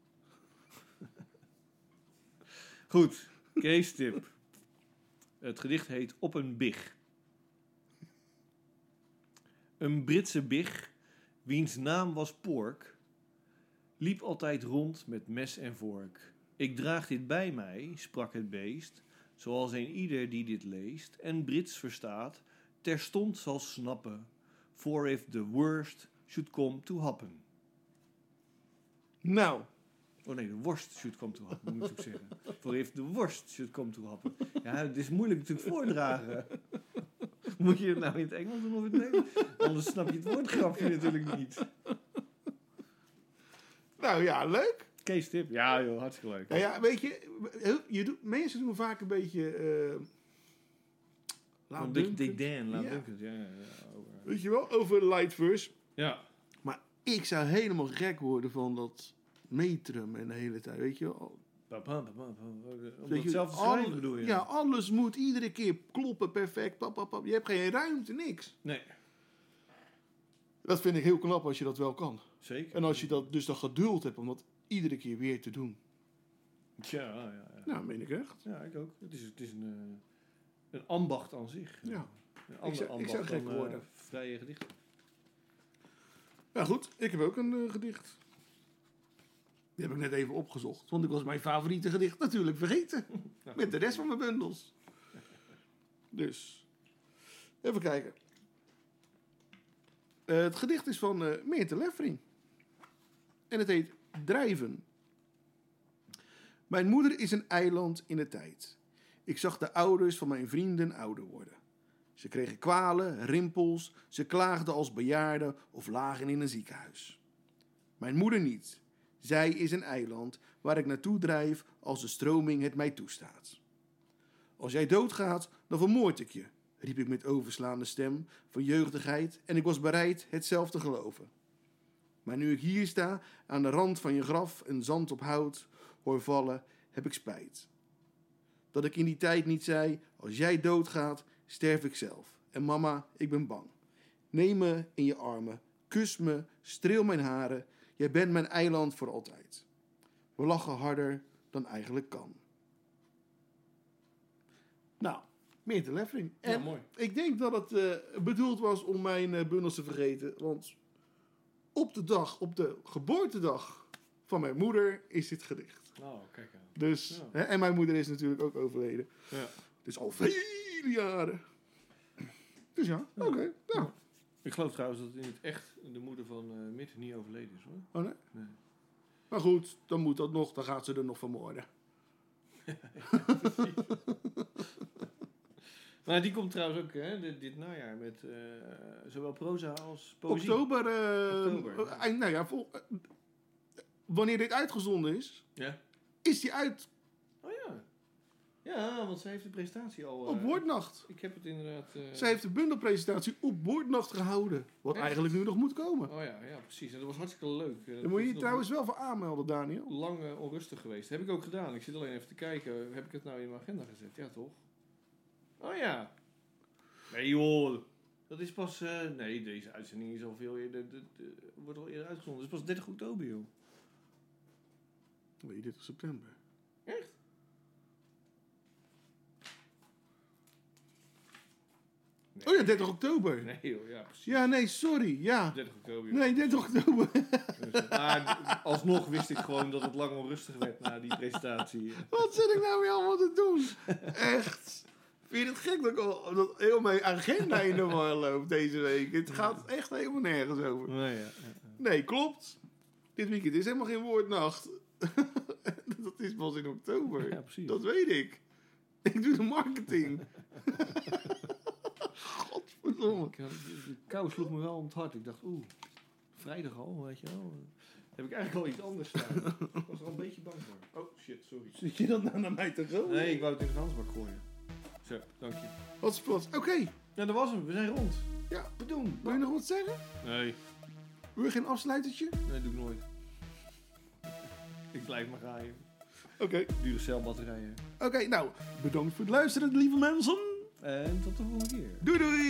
[SPEAKER 6] Goed, Kees tip. Het gedicht heet Op een big. Een Britse big, wiens naam was Pork, liep altijd rond met mes en vork. Ik draag dit bij mij, sprak het beest, zoals een ieder die dit leest en Brits verstaat, terstond zal snappen, for if the worst should come to happen.
[SPEAKER 7] Nou,
[SPEAKER 6] Oh nee, de worst should come to happen, moet ik ook zeggen. Voor heeft de worst should come to happen. Ja, het is moeilijk natuurlijk voordragen. Moet je het nou in het Engels doen of in het Nederlands? Anders snap je het woordgrapje natuurlijk niet.
[SPEAKER 7] nou ja, leuk.
[SPEAKER 6] Kees tip. Ja joh, hartstikke leuk.
[SPEAKER 7] Nou ja, weet je, heel- je doet, mensen doen vaak een beetje... eh
[SPEAKER 6] Van Dick,
[SPEAKER 7] laat dunken.
[SPEAKER 6] Dick Dan, laat
[SPEAKER 7] Ja.
[SPEAKER 6] Duncan, ja. Ja, ja, oh, eh. over.
[SPEAKER 7] Weet je wel, over light verse.
[SPEAKER 6] ja.
[SPEAKER 7] Maar ik zou helemaal gek worden van dat metrum en de hele tijd, weet je wel.
[SPEAKER 6] Ba, ba, ba, ba, ba. Om
[SPEAKER 7] Weet
[SPEAKER 6] dat
[SPEAKER 7] je,
[SPEAKER 6] zelf te
[SPEAKER 7] alle-
[SPEAKER 6] schrijven bedoel je?
[SPEAKER 7] Ja, alles moet iedere keer kloppen, perfect, pap, pap, pap. Je hebt geen ruimte, niks.
[SPEAKER 6] Nee,
[SPEAKER 7] Dat vind ik heel knap als je dat wel kan.
[SPEAKER 6] zeker.
[SPEAKER 7] En als je dat, dus dat geduld hebt om dat iedere keer weer te doen.
[SPEAKER 6] Ja, ja, ja.
[SPEAKER 7] Nou, meen ik echt.
[SPEAKER 6] ja, ik ook. Het is, het is een, eh, een ambacht aan zich.
[SPEAKER 7] Ja.
[SPEAKER 6] Een ander
[SPEAKER 7] zou- ik
[SPEAKER 6] ambacht
[SPEAKER 7] zou gek
[SPEAKER 6] dan, eh,
[SPEAKER 7] worden.
[SPEAKER 6] vrije gedichten.
[SPEAKER 7] Nou goed, ik heb ook een eh, gedicht. Die heb ik net even opgezocht, want ik was mijn favoriete gedicht natuurlijk vergeten. Nou.
[SPEAKER 6] Nou,
[SPEAKER 7] Met de rest van mijn bundels. Dus, even kijken. Eh, het gedicht is van eh Meerte Leffering. En het heet Drijven. Mijn moeder is een eiland in de tijd. Ik zag de ouders van mijn vrienden ouder worden. Ze kregen kwalen, rimpels, ze klaagden als bejaarden of lagen in een ziekenhuis. Mijn moeder niet. Zij is een eiland waar ik naartoe drijf als de stroming het mij toestaat. Als jij doodgaat, dan vermoord ik je, riep ik met overslaande stem van jeugdigheid en ik was bereid het zelf te geloven. Maar nu ik hier sta, aan de rand van je graf en zand op hout hoor vallen, heb ik spijt. Dat ik in die tijd niet zei: Als jij doodgaat, sterf ik zelf. En mama, ik ben bang. Neem me in je armen, kus me, streel mijn haren. Jij bent mijn eiland voor altijd. We lachen harder dan eigenlijk kan. Nou, meer te leffering. En
[SPEAKER 6] mooi.
[SPEAKER 7] ik denk dat het eh, bedoeld was om mijn eh, bundels te vergeten. Want op de dag, op de geboortedag van mijn moeder, is dit gedicht.
[SPEAKER 6] Nou, kijk aan.
[SPEAKER 7] Dus,
[SPEAKER 6] Ja.
[SPEAKER 7] hè, en mijn moeder is natuurlijk ook overleden.
[SPEAKER 6] Ja.
[SPEAKER 7] Dus al vele jaren. Dus ja, oké. Nou,
[SPEAKER 6] Ik geloof trouwens dat in het echt de moeder van eh Mitt niet overleden is hoor.
[SPEAKER 7] oh nee.
[SPEAKER 6] Nee.
[SPEAKER 7] Maar goed, dan moet dat nog, dan gaat ze er nog vermoorden.
[SPEAKER 6] Maar die komt trouwens ook hè, dit, dit najaar met eh, zowel proza als poëzie.
[SPEAKER 7] Oktober, eh,
[SPEAKER 6] Oktober.
[SPEAKER 7] eh, eind- nou ja, vol- eh, wanneer dit uitgezonden is,
[SPEAKER 6] Ja.
[SPEAKER 7] is die uit
[SPEAKER 6] Oh ja. Ja, want zij heeft de presentatie al. eh,
[SPEAKER 7] op woordnacht.
[SPEAKER 6] Ik heb het inderdaad. eh,
[SPEAKER 7] Zij heeft de bundelpresentatie op woordnacht gehouden. Wat
[SPEAKER 6] Echt?
[SPEAKER 7] eigenlijk nu nog moet komen.
[SPEAKER 6] Oh ja, ja, precies. En dat was hartstikke leuk. Eh,
[SPEAKER 7] Daar
[SPEAKER 6] dat
[SPEAKER 7] moet je
[SPEAKER 6] is
[SPEAKER 7] je
[SPEAKER 6] nog
[SPEAKER 7] trouwens wel voor aanmelden, Daniel.
[SPEAKER 6] Lang eh, onrustig geweest. Heb ik ook gedaan. Ik zit alleen even te kijken. Heb ik het nou in mijn agenda gezet? Ja, toch? Oh ja. Nee joh. Dat is pas. eh, nee, deze uitzending is al veel eerder. de- de- wordt al eerder uitgezonden. Het is pas 30 oktober joh.
[SPEAKER 7] Nee, 30 september.
[SPEAKER 6] Echt? Nee.
[SPEAKER 7] Oh ja, 30 oktober.
[SPEAKER 6] Nee joh, ja precies.
[SPEAKER 7] Ja, nee, sorry. Ja.
[SPEAKER 6] 30 oktober. joh.
[SPEAKER 7] Nee, 30 oktober. [laughs]
[SPEAKER 6] Dus, [laughs] maar alsnog wist ik gewoon dat het lang onrustig werd na die presentatie.
[SPEAKER 7] Wat zit ik nou weer allemaal te doen? Echt. Vind je het gek dat, ik al, dat heel mijn agenda in de war loopt deze week? Het gaat echt helemaal nergens over.
[SPEAKER 6] Nee, ja.
[SPEAKER 7] Nee, klopt. Dit weekend is helemaal geen woordnacht. [laughs] dat is pas in oktober.
[SPEAKER 6] Ja, precies.
[SPEAKER 7] Dat weet ik. Ik doe de marketing. [laughs] Godverdomme.
[SPEAKER 6] Ik had- de- de kou sloeg me wel om het hart. Ik dacht, oeh, vrijdag al, weet je wel. Heb ik eigenlijk al iets anders staan. Ik was er al een beetje bang voor. Oh shit, sorry.
[SPEAKER 7] Zit je dat nou naar mij te gooien?
[SPEAKER 6] Nee, ik wou het in de vuilnisbak gooien. Zo, dank je.
[SPEAKER 7] Wat is plots? Oké,
[SPEAKER 6] Ja, dat was hem. We zijn rond.
[SPEAKER 7] Ja.
[SPEAKER 6] bedoel.
[SPEAKER 7] wil je nog wat zeggen?
[SPEAKER 6] Nee,
[SPEAKER 7] Wil je geen afsluitertje?
[SPEAKER 6] nee, doe ik nooit. Ik blijf maar gaan. joh.
[SPEAKER 7] Oké,
[SPEAKER 6] Dure celbatterijen.
[SPEAKER 7] Oké, nou, bedankt voor het luisteren, lieve mensen.
[SPEAKER 6] En tot de volgende keer.
[SPEAKER 7] Doei doei!